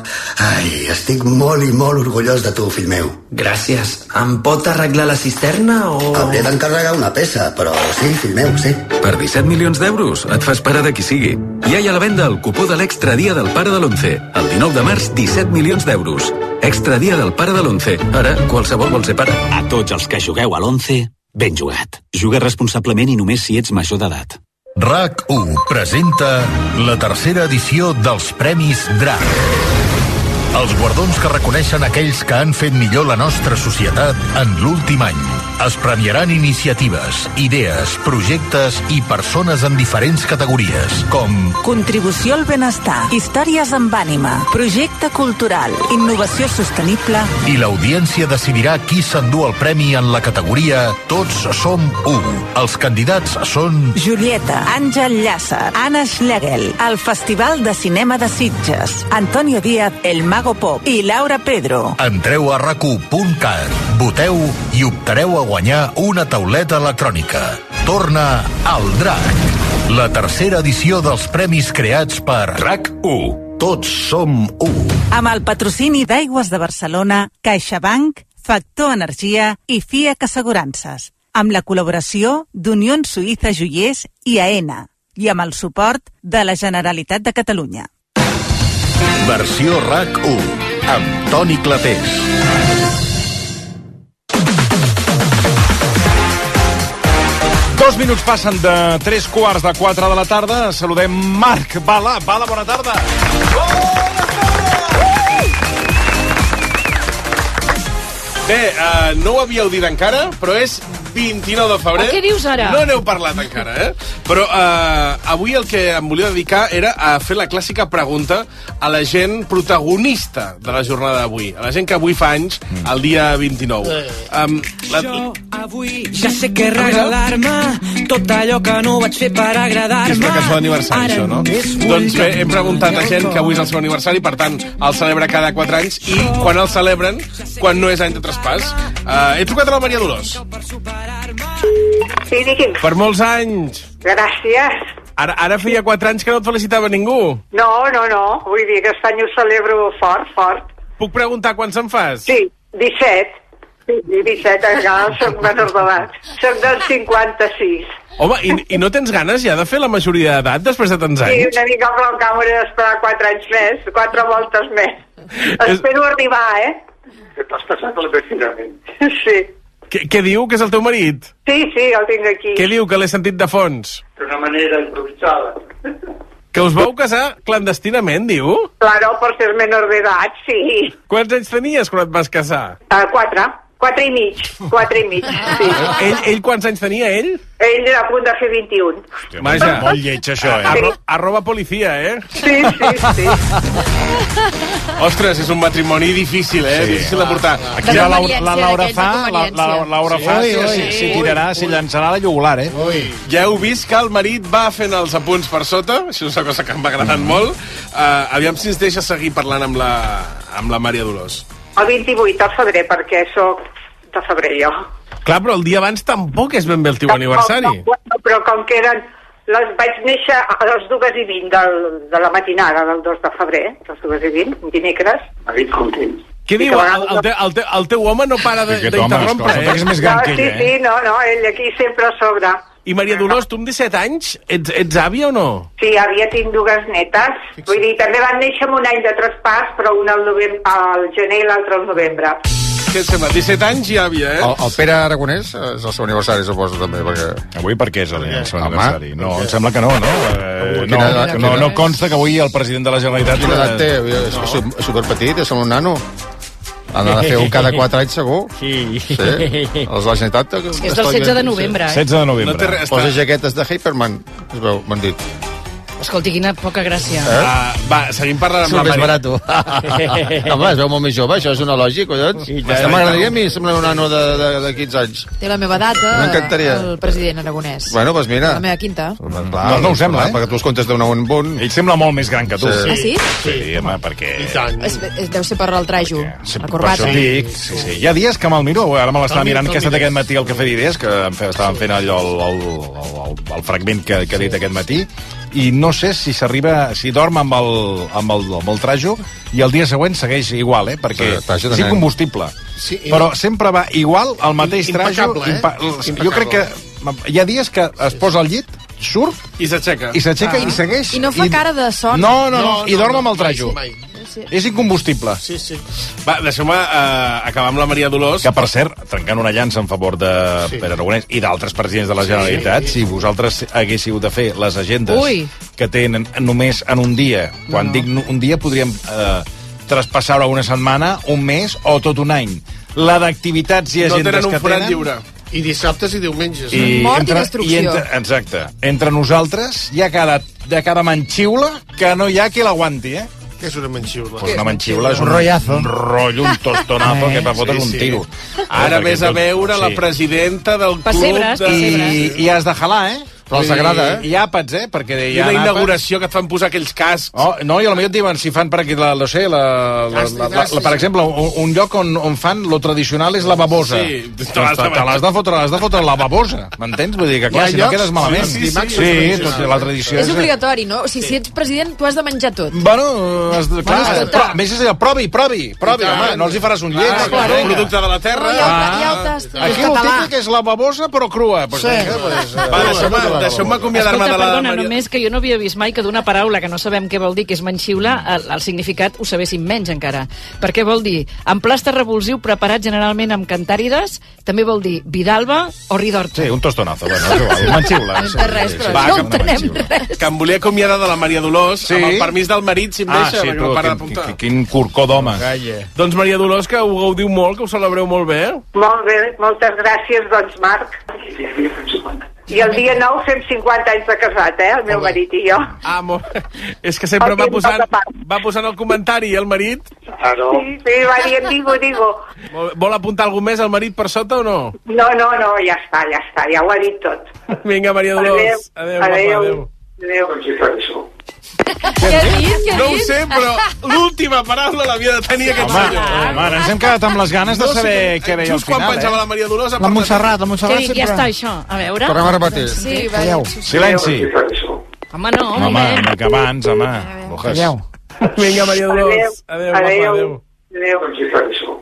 S30: Ai, estic molt i molt orgullós de tu, fill meu.
S11: Gràcies. Em pot arreglar la cisterna o...
S30: Hauré d'encarregar una peça, però sí, fill meu, sí.
S19: Per 17 milions d'euros et fas pare de qui sigui. Ja hi ha a la venda el cupó de l'extra dia del pare de l'11. El 19 de març, 17 milions d'euros. Extra dia del pare de l'11. Ara qualsevol vol ser pare.
S30: A tots els que jugueu a l'11, ben jugat. Juga responsablement i només si ets major d'edat.
S7: RAC1 presenta la tercera edició dels Premis DRAC. Els guardons que reconeixen aquells que han fet millor la nostra societat en l'últim any. Es premiaran iniciatives, idees, projectes i persones en diferents categories, com
S13: Contribució al benestar, històries amb ànima, projecte cultural, innovació sostenible...
S7: i l'audiència decidirà qui s'endú el premi en la categoria Tots som u. Els candidats són...
S13: Julieta, Àngel Llàcer, Anna Schlegel, el Festival de Cinema de Sitges, Antonio Díaz, el Mago Pop i Laura Pedro.
S7: Entreu a racu.cat, voteu i optareu a guanyar una tauleta electrònica. Torna al DRAC, la tercera edició dels premis creats per RAC1. Tots som u.
S13: Amb el patrocini d'Aigües de Barcelona, CaixaBank, Factor Energia i FIAC Assegurances, amb la col·laboració d'Unió Suïssa Joiers i AENA, i amb el suport de la Generalitat de Catalunya.
S7: Versió RAC1, amb Toni Clapés.
S1: Dos minuts passen de tres quarts de quatre de la tarda. Saludem Marc Bala. Bala, bona tarda.
S31: Bé, uh, no ho havíeu dit encara, però és 29 de febrer.
S21: Oh, què dius ara?
S31: No n'heu parlat encara, eh? Però uh, avui el que em volia dedicar era a fer la clàssica pregunta a la gent protagonista de la jornada d'avui. A la gent que avui fa anys, el dia 29. Um, la...
S32: Avui ja sé què regalar-me Tot allò que no vaig fer per
S31: Que és la
S32: agradar-me
S31: cançó d'aniversari, això, no? Doncs bé, hem preguntat a gent que avui és el seu aniversari, per tant, el celebra cada 4 anys, i quan el celebren, quan no és any de traspàs. Uh, he trucat a la Maria Dolors.
S28: Sí, digui'm.
S31: Per molts anys.
S28: Gràcies.
S31: Ara, ara feia 4 anys que no et felicitava ningú.
S28: No, no, no. Vull dir, aquest any ho celebro fort, fort.
S31: Puc preguntar quants en fas?
S28: Sí, 17. Sí, 17 regals, soc menor d'edat. Soc del 56.
S31: Home, i, i no tens ganes ja de fer la majoria d'edat després de tants
S28: Sí,
S31: anys?
S28: una mica però encara m'hauré d'esperar 4 anys més, 4 voltes més. Espero arribar, eh?
S23: Que t'has passat el vecinament.
S28: Sí,
S31: Què, què diu que és el teu marit?
S28: sí, sí el tinc aquí.
S31: Què diu que l'he sentit de fons?
S23: D'una manera improvisada.
S31: Que us vau casar clandestinament, diu?
S28: Claro, per ser menor d'edat, sí.
S31: Quants anys tenies quan et vas casar?
S28: Uh, 4, 4 i mig, 4 i mig, sí.
S31: Ell, ell quants anys tenia, ell?
S28: Ell era a punt de fer 21.
S31: Vaja.
S28: molt- molt
S31: lleig, això, eh? Arro, arroba policia, eh?
S28: Sí, sí, sí.
S31: Ostres, és un matrimoni difícil, eh?
S1: Sí.
S31: Difícil de portar.
S1: Aquí la, Laura- la Laura fa, la, la, la Laura
S31: Sí,
S1: fa,
S31: ui,
S1: sí,
S31: ui,
S1: sí,
S31: ui.
S1: sí, tirarà, sí, llançarà la jugular, eh? Ui.
S31: Ja heu vist que el marit va fent els apunts per sota, això és una cosa que em va agradant molt. Uh, aviam si ens deixa seguir parlant amb la, amb la Maria Dolors.
S28: El 28 de febrer, perquè sóc de febrer jo.
S31: Clar, però el dia abans tampoc és ben bé el teu aniversari.
S28: Com, com, però com que eren... Les, vaig néixer a les dues i vint del, de la matinada del 2 de febrer, les dues i vint, dimecres.
S23: Marit content.
S31: Què diu? El, el, te, el, te, el teu home no para de-
S1: Aquest home,
S31: d'interrompre,
S1: escolta,
S31: eh?
S1: que eh? és més
S28: no, sí, sí, no, no, ell aquí sempre a sobre.
S31: I Maria Dolors, tu amb 17 anys, ets, ets àvia o no?
S28: Sí, havia tinc dues netes. Vull dir, també van néixer amb un any de traspàs, però una al, novembre, al gener i l'altra al novembre.
S31: Què et sembla? 17 anys i àvia, eh?
S22: El, el Pere Aragonès és el seu aniversari, suposo, també, perquè...
S1: Avui per què és el, el seu aniversari? No, em sembla que no, no? Eh, no,
S22: Quina edat-
S1: no,
S22: quina-
S1: no consta que avui el president de la Generalitat...
S22: Quina edat té?
S1: eh,
S22: És su- superpetit, és un nano. Ha de fer un cada 4 anys, segur.
S1: Sí.
S22: Sí. Els de la Generalitat...
S21: És del 16 de novembre, eh?
S22: 16 de novembre.
S21: No té res,
S22: Posa
S21: està-
S22: jaquetes de Hyperman, es veu, m'han dit. Eh?
S21: Escolti, quina poca gràcia.
S24: Eh?
S31: Ah, va, seguim parlant amb
S22: Surt
S31: la
S22: més
S31: Maria.
S22: barat. Home, es veu molt més jove, això és una lògica, collons.
S31: tant.
S22: Ja m'agradaria a mi semblar un nano de, de, de 15 anys.
S4: Té la meva data,
S22: M'encantaria.
S4: el president aragonès.
S22: Bueno, doncs mira.
S4: La meva quinta.
S22: Clar, no, no ho sembla, eh? Perquè tu els comptes d'un a un bon...
S1: Ell sembla molt més gran que
S22: tu.
S4: Ah, sí?
S1: Sí, home, perquè...
S4: És, és, deu ser per el trajo, la corbata.
S1: Per això dic, sí, sí. Hi ha dies que me'l miro, ara me l'estava Te'l miro, mirant, te'l que he estat mires. aquest matí al Cafè d'Idees, que em fe, estàvem fent allò, el, el, el, el, el fragment que, que he dit aquest matí, i no sé si s'arriba, si dorm amb el, amb, el, amb el trajo, i el dia següent segueix igual, eh? perquè
S22: Sí, trajo de
S1: sí,
S22: nen.
S1: combustible.
S22: Sí, i-
S1: però sempre va igual, el mateix trajo.
S22: Impecable, eh?
S1: Jo crec que hi ha dies que es posa al llit, surt,
S31: I s'aixeca.
S1: i s'aixeca
S22: Ah.
S1: i segueix.
S4: I no fa cara de son.
S1: No, no, no, i dorm amb el trajo.
S4: Sí.
S1: És incombustible. Sí,
S31: sí. Va, deixeu-me eh, acabar amb la Maria Dolors.
S1: Que, per cert, trencant una llança en favor de sí. Pere Aragonès i d'altres presidents de la
S31: Sí,
S1: Generalitat,
S31: sí.
S1: si vosaltres haguéssiu de fer les agendes
S4: Ui.
S1: que tenen només en un dia, quan no. dic no- un dia podríem eh, traspassar-ho a una setmana, un mes o tot un any. La d'activitats i
S24: No
S1: agendes
S24: tenen un
S1: que
S24: forat
S1: tenen...
S24: lliure. I dissabtes i diumenges.
S1: I entre, i entre, exacte. Entre nosaltres hi ha cada, de cada manxiula que no hi ha qui l'aguanti, eh?
S24: Què és una manxiula?
S1: Pues una manxiula és un,
S24: Un rollazo.
S1: un rotllo, un
S31: Eh,
S1: tostonazo que per fotre's
S24: Sí,
S1: un
S24: sí.
S1: tiro.
S31: Ara
S1: Perquè
S31: vés a
S1: tot-
S31: veure la
S1: sí.
S31: presidenta del club...
S1: Pessebres,
S31: de...
S1: pessebres. I- i has de jalar, eh? Però els
S31: Vull dir,
S1: agrada, eh? I àpats, eh? Perquè
S31: I
S1: hi ha
S31: una
S1: àpats.
S31: inauguració que et fan posar aquells cascs.
S1: Oh, no, i a la millor et diuen, si fan per aquí, la, no sé, la, la, la, la, la, per exemple, un, un lloc on, on fan lo tradicional és la babosa.
S31: Sí,
S1: Doncs te te l'has de fotre, l'has de fotre la babosa, m'entens? Vull dir que,
S24: Hi
S1: clar,
S24: ha
S1: si no
S24: llocs-
S1: quedes malament.
S24: Sí, sí, sí, sí,
S1: sí,
S24: sí,
S1: tot, i la tradició
S4: És obligatori, no? O sigui, si ets president, tu has de menjar tot.
S1: Bueno, has de, clar,
S4: escolta.
S1: pro, a més és allò, provi, provi, provi, home, no els hi faràs un lleig.
S31: Ah,
S1: clar,
S31: clar, un
S1: vinga.
S31: producte de la terra. Ah.
S1: ja ho- ja ho
S4: tastes.
S1: Aquí el típic és la babosa, però crua. Pues,
S31: Sí.
S1: vinga, pues, eh,
S31: Va, deixeu-me deixeu acomiadar-me
S21: Escolta,
S31: de la...
S21: perdona,
S31: Maria-
S21: només que jo no havia vist mai que d'una paraula que no sabem què vol dir, que és manxiula, el, el significat ho sabéssim menys encara. Perquè vol dir emplasta revulsiu preparat generalment amb cantàrides, també vol dir vidalba o ridorta.
S1: Sí, un tostonazo, bueno, és igual, un manxiula.
S21: No té res, però
S31: Va,
S1: Ah,
S21: no
S31: que-
S21: entenem res.
S31: Que em volia acomiadar de la Maria Dolors sí? amb el permís del marit, si em
S1: Ah,
S31: deixa,
S1: sí,
S31: perquè
S1: tu,
S31: no para
S1: quin-
S31: d'apuntar.
S1: quin- Quin corcó d'home.
S31: Doncs Maria Dolors, que ho gaudiu molt, que ho celebreu molt bé.
S28: Molt bé, moltes gràcies, doncs, Marc. I el dia 9 fem 50 anys de casat, eh, el meu marit i jo.
S31: Ah, molt... És que sempre va posant, va posant el comentari, eh, el marit.
S23: Claro.
S28: Sí, sí, va dient, digo, digo.
S31: Vol, vol apuntar alguna més al marit per sota o no?
S28: No, no, no, ja està, ja està, ja ho ha dit tot.
S31: Vinga, Maria Dolors. Adéu, adéu, adéu.
S28: adéu.
S23: adéu.
S31: Què
S28: has dit? Què has
S31: No ho
S28: dit?
S31: sé, però l'última paraula l'havia de tenir aquest
S1: Home, eh,
S31: senyor.
S1: home, ara ens hem quedat amb les ganes de
S31: No sé
S1: saber
S31: com-
S1: què deia al
S31: just quan
S1: final,
S31: pensava
S1: eh?
S31: la Maria Dolors,
S1: La Montserrat, la
S21: Què dic, ja està això? A veure...
S1: Tornem a repetir.
S21: Sí, va,
S1: Calleu. Silenci.
S21: Home, no,
S1: Home,
S21: home.
S1: home, que abans, home. Ojas. Calleu.
S31: Vinga, Maria Dolors. Adéu,
S28: Adéu.
S31: adéu.
S28: Adéu.
S23: adéu.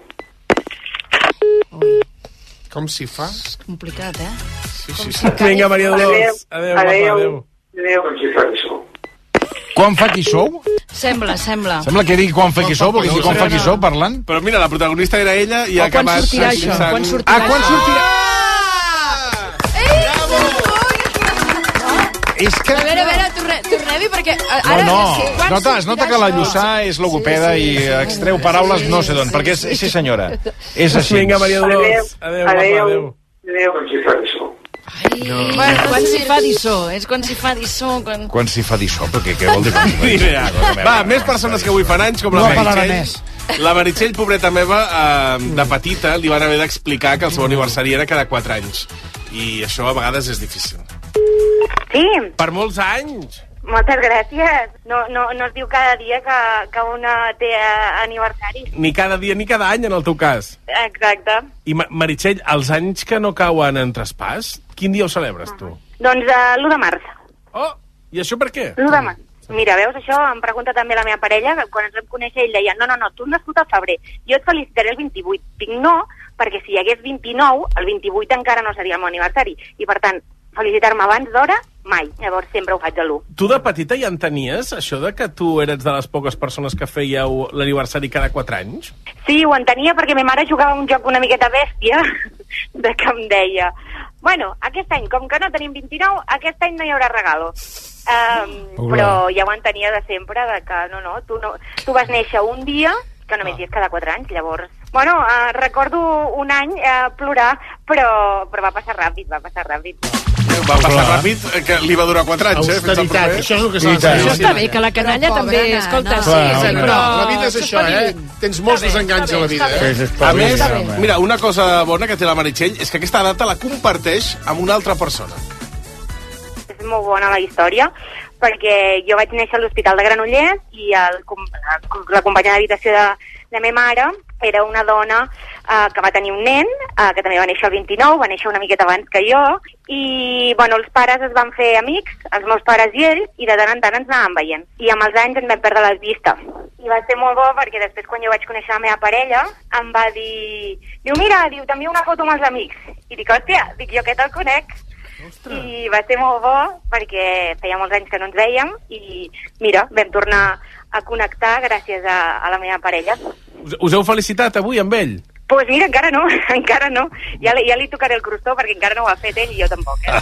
S24: Com s'hi fa?
S21: Complicat, eh?
S24: Sí,
S21: Com
S24: sí,
S21: s'hi
S24: sí.
S21: fa?
S24: Vinga, Maria Dolors.
S31: Adéu,
S24: adéu.
S31: guapa,
S24: adéu.
S31: adéu.
S1: Quan fa qui sou?
S21: Sembla, sembla.
S1: Sembla que digui quan fa qui sou, perquè si quan fa qui sou parlant...
S31: Però mira, la protagonista era ella i
S21: O
S31: ha
S21: quan
S31: acabat...
S21: sortirà això?
S31: fixant-
S21: Quan sortirà?
S31: Ah, quan sortirà?
S1: És que...
S4: A veure, a veure, torne- tornem-hi, perquè... a-
S1: No,
S4: Ara,
S1: no,
S4: sí,
S1: es
S4: quan
S1: nota, es nota
S4: sortirà
S1: que la
S4: això?
S1: Lluçà és logopeda sí, sí, i extreu paraules no sé d'on, perquè és, és sí, senyora. És així.
S31: Vinga, Maria Dolors. Adéu, guapa,
S28: Adéu.
S31: adéu.
S28: Adéu.
S21: Bueno, quan s'hi fa dissó, és quan s'hi fa dissó, quan...
S1: Quan s'hi fa dissó, perquè què vol dir? Quan s'hi fa
S31: Ni
S1: dissó?
S31: idea. Va, més persones que avui fan anys, com la
S1: No
S31: Meritxell.
S6: parlaràs
S31: La Meritxell, pobreta meva, eh, de petita, li van haver d'explicar que el seu aniversari era cada 4 anys. I això a vegades és difícil.
S26: Sí,
S31: Per molts anys!
S26: moltes gràcies. No, no, no es diu cada dia que, que una té eh, aniversari.
S31: Ni cada dia ni cada any, en el teu cas.
S26: Exacte.
S31: I Ma- Meritxell, els anys que no cauen en traspàs, quin dia ho celebres, tu?
S26: Doncs uh, l'1 de març.
S31: Oh, i això per què?
S26: L'1 de març. Mira, veus, això em pregunta també la meva parella, que quan ens vam conèixer ell deia no, no, no, tu has nascut al febrer, jo et felicitaré el 28. Dic no, perquè si hi hagués 29, el 28 encara no seria el meu aniversari. I per tant, felicitar-me abans d'hora, mai. Llavors sempre ho faig a l'1.
S31: Tu de petita ja en tenies, això de que tu eres de les poques persones que fèieu l'aniversari cada 4 anys?
S26: Sí, ho entenia perquè ma mare jugava a un joc una miqueta bèstia de que em deia bueno, aquest any, com que no tenim 29, aquest any no hi haurà regalo. Um,
S27: Hola.
S26: però ja ho entenia de sempre, de que no, no, tu, no, tu vas néixer un dia, que només hi és cada 4 anys, llavors... Bueno, uh, recordo un any uh, plorar, però, però va passar ràpid, va passar ràpid.
S31: Va passar ràpid, eh, que li va durar 4 anys, eh? Fins al
S24: Austeritat,
S31: proper.
S24: això és el que s'ha de fer.
S21: Això està bé, que la canalla
S26: pobra
S21: també...
S26: nana.
S21: Escolta, sí,
S24: Clar,
S21: sí,
S24: home,
S21: però...
S24: La vida és això, eh? Tens molts desenganys a la vida, eh?
S31: A més, mira, una cosa bona que té la Meritxell és que aquesta data la comparteix amb una altra persona.
S26: és molt bona la història perquè jo vaig néixer a l'Hospital de Granollers i el, com- la, la companya d'habitació de, de meva mare era una dona eh, que va tenir un nen, eh, que també va néixer el 29, va néixer una miqueta abans que jo, i bueno, els pares es van fer amics, els meus pares i ell, i de tant en tant ens anàvem veient. I amb els anys ens vam perdre les vistes. I va ser molt bo perquè després quan jo vaig conèixer la meva parella em va dir... Diu, mira, diu, t'envio una foto amb els amics. I dic, hòstia, dic, jo aquest el conec. I va ser molt bo perquè feia molts anys que no ens vèiem i mira, vam tornar a connectar gràcies a, a la meva parella. Doncs
S31: Us, us heu felicitat avui amb ell?
S26: pues mira, encara no, encara no. Ja, li- ja li tocaré el crostó perquè encara no ho ha fet ell i jo tampoc. Eh?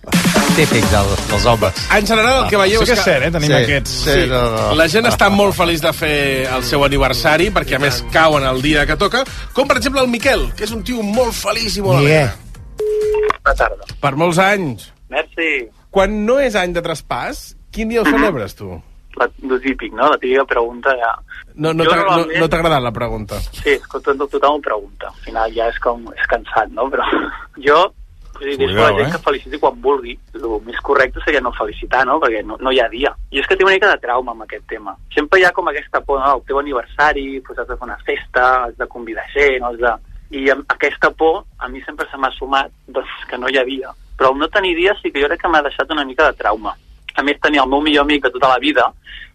S22: Típic del, dels homes.
S31: En general, el que veieu
S22: Sí que
S31: és
S22: és cert, eh? Tenim
S31: sí,
S22: aquests.
S31: Sí.
S22: Sí, no, no.
S31: La gent està molt feliç de fer el seu aniversari, perquè a més cauen el dia que toca, com per exemple el Miquel, que és un tio molt feliç i molt alegre.
S23: Bona tarda.
S31: Per molts anys.
S23: Merci.
S31: Quan no és any de traspàs, quin dia ho celebres, tu?
S23: La, lo típic, no? La típica pregunta ja...
S31: No, no
S23: Jo
S31: t'ha no,
S23: normalment-
S31: no t'ha agradat la pregunta.
S23: Sí, és que tot, tothom ho pregunta. Al final ja és com... És cansat, no? Però jo... Vull dir, deixo la
S31: Cuidao, eh?
S23: gent que feliciti quan vulgui. El més correcte seria no felicitar, no? Perquè no, no hi ha dia. I és que tinc una mica de trauma amb aquest tema. Sempre hi ha com aquesta por, no? El teu aniversari, doncs has de fer una festa, has de convidar gent, has de... I amb aquesta por a mi sempre se m'ha sumat doncs, que no hi ha dia. Però el no tenir dia sí que jo crec que m'ha deixat una mica de trauma. A més, tenia el meu millor amic de tota la vida,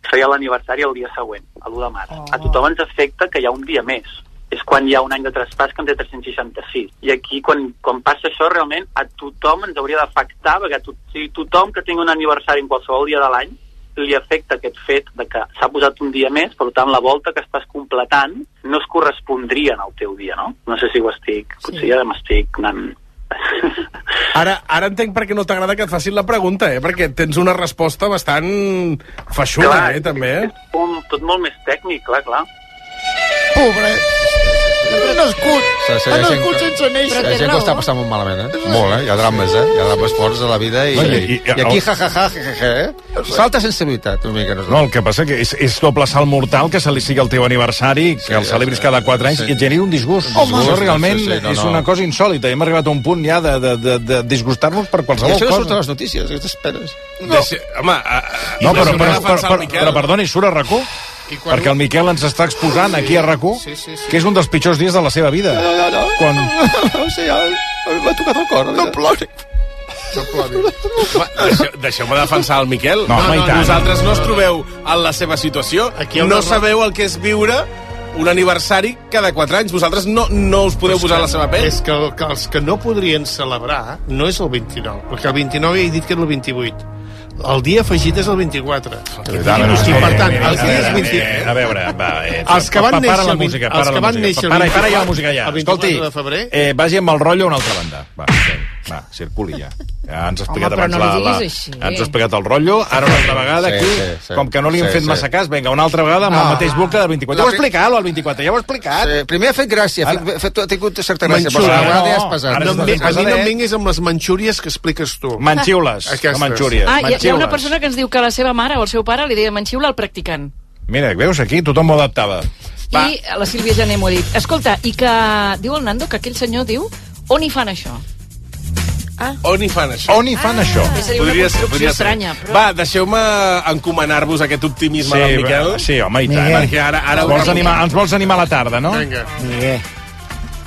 S23: feia l'aniversari el dia següent, a l'1 de març. Oh. A tothom ens afecta que hi ha un dia més. És quan hi ha un any de traspàs que en té 366. I aquí, quan, quan passa això, realment a tothom ens hauria d'afectar, perquè a to si tothom que tingui un aniversari en qualsevol dia de l'any li afecta aquest fet de que s'ha posat un dia més, per tant, la volta que estàs completant no es correspondria en el teu dia, no? No sé si ho estic... Potser sí. ja m'estic anant...
S31: Ara, ara entenc per què no t'agrada que et facin la pregunta, eh? Perquè tens una resposta bastant feixuda,
S23: Clar.
S31: eh, també. eh?
S23: Un, tot molt més tècnic, clar, clar.
S6: Pobre. Ha nascut.
S22: Se- se-
S6: Ha
S22: la gent
S6: nascut
S22: que-
S6: sense néixer.
S22: La gent que ho està passant molt malament, eh? Molt, eh? Hi ha drames, eh? Hi ha drames forts a la vida i,
S1: Vaja,
S22: i,
S1: i-
S22: i, aquí ja, ja, ja, ja, eh? Salta sensibilitat, una mica. No,
S1: No, el que passa que és, és doble salt mortal que se li sigui el teu aniversari, que el celebris cada 4 anys, i et generi un disgust.
S22: Un disgust,
S1: Això realment
S22: sí, sí, no,
S1: és
S22: no.
S1: una cosa insòlita. Hem arribat a un punt ja de, de, de, de disgustar-nos per
S22: I
S1: qualsevol
S22: això no surt
S1: cosa.
S22: a les notícies, que t'esperes.
S31: No. Deixa, home, a, a,
S1: No, però, però,
S31: impressionant
S1: però,
S31: pensar el
S1: però,
S31: Miquel.
S1: però perdoni, surt a RAC1?
S31: quan-
S1: Perquè el Miquel ens està exposant aquí a RAC1,
S22: Sí, sí, sí.
S1: que és un dels pitjors dies de la seva vida.
S22: No, no, no.
S1: Quan...
S22: No sé, ja, m'ha tocat el cor. No plori.
S24: No plori.
S31: Deixeu- Deixeu-me defensar el Miquel.
S24: No, home, i tant.
S31: Vosaltres no us trobeu en la seva situació,
S24: hi ha
S31: no
S24: una-
S31: sabeu el que és viure un aniversari cada 4 anys. Vosaltres no, no us podeu
S24: Però és
S31: posar
S24: que-
S31: la seva pell.
S24: És que, el- que els que no podrien celebrar no és el 29, perquè el 29 ja he dit que era el 28. El dia afegit és el 24.
S1: no,
S24: Sí,
S1: no,
S24: per
S1: no,
S24: tant,
S1: no,
S24: els
S1: no,
S24: dies
S1: no,
S24: 20...
S1: eh, a veure, va, eh,
S24: Els que van
S1: pa- para
S24: néixer
S1: la
S24: el vint-
S1: música,
S24: els
S1: para
S24: que
S1: la
S24: van
S1: música.
S24: néixer el
S1: Para- para ja la
S24: 24
S1: música ja.
S24: el 24
S1: Escolti,
S24: de febrer.
S1: eh, vagi amb el rotllo a una altra banda. Va, sí, va, circuli ja. Ja ens ha explicat
S24: però
S1: abans
S24: no
S1: la,
S24: li
S1: la...
S24: diguis així. eh?
S1: Ens ha explicat el rotllo, ara una altra vegada
S22: Sí,
S1: aquí,
S22: sí, sí.
S1: com que no li hem
S22: Sí,
S1: fet
S22: sí.
S1: massa cas, vinga, una altra vegada amb
S24: Ah.
S22: No.
S1: el mateix bucle del 24. Ja ho
S22: La
S1: he
S22: fi-
S1: explicat, el 24, ja ho he explicat.
S22: Sí, primer ha fet gràcia, ha, fet, ha, fet, ha tingut certa gràcia, però la vegada ja has passat.
S24: No, em ve- a mi no em vinguis amb les manxúries que expliques tu.
S1: Manxiules, no
S24: Aquestes.
S1: manxúries.
S21: Ah, hi ha, hi ha una
S1: Manxiules.
S21: persona que ens diu que la seva mare o el seu pare li deia Manxiula al practicant.
S1: Mira, veus, aquí tothom ho adaptava.
S21: Va. I la Sílvia Jané m'ho ha dit. Escolta, i que diu el Nando que aquell senyor diu on hi fan això?
S31: On hi fan això?
S1: On hi fan això?
S21: seria una construcció estranya, però-
S31: Va, deixeu-me encomanar-vos aquest optimisme
S1: Sí,
S31: del Miquel.
S1: va, sí, home, i tant.
S31: Perquè ara... ara
S1: ens,
S31: ho
S1: vols
S31: remunto.
S1: animar, ens vols animar a la tarda, no?
S31: Vinga.
S1: Miguel.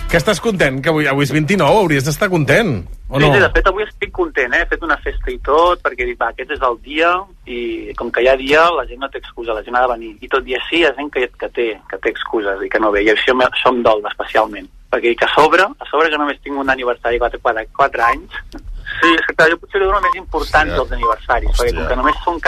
S31: Que estàs content? Que avui, avui és 29, hauries d'estar content. O
S23: Sí,
S31: no?
S23: sí, de fet avui estic content, eh? he fet una festa i tot, perquè he dit, va, aquest és el dia, i com que hi ha dia, la gent no té excusa, la gent ha de venir. I tot i així, hi ha gent que, que, té, que té excuses i que no ve, i això, me- això em dol especialment. Perquè que a sobre, a sobre que només tinc un aniversari de 4, 4, 4 anys, sí, és que clar, jo potser li dono més importància als aniversaris, perquè com que només són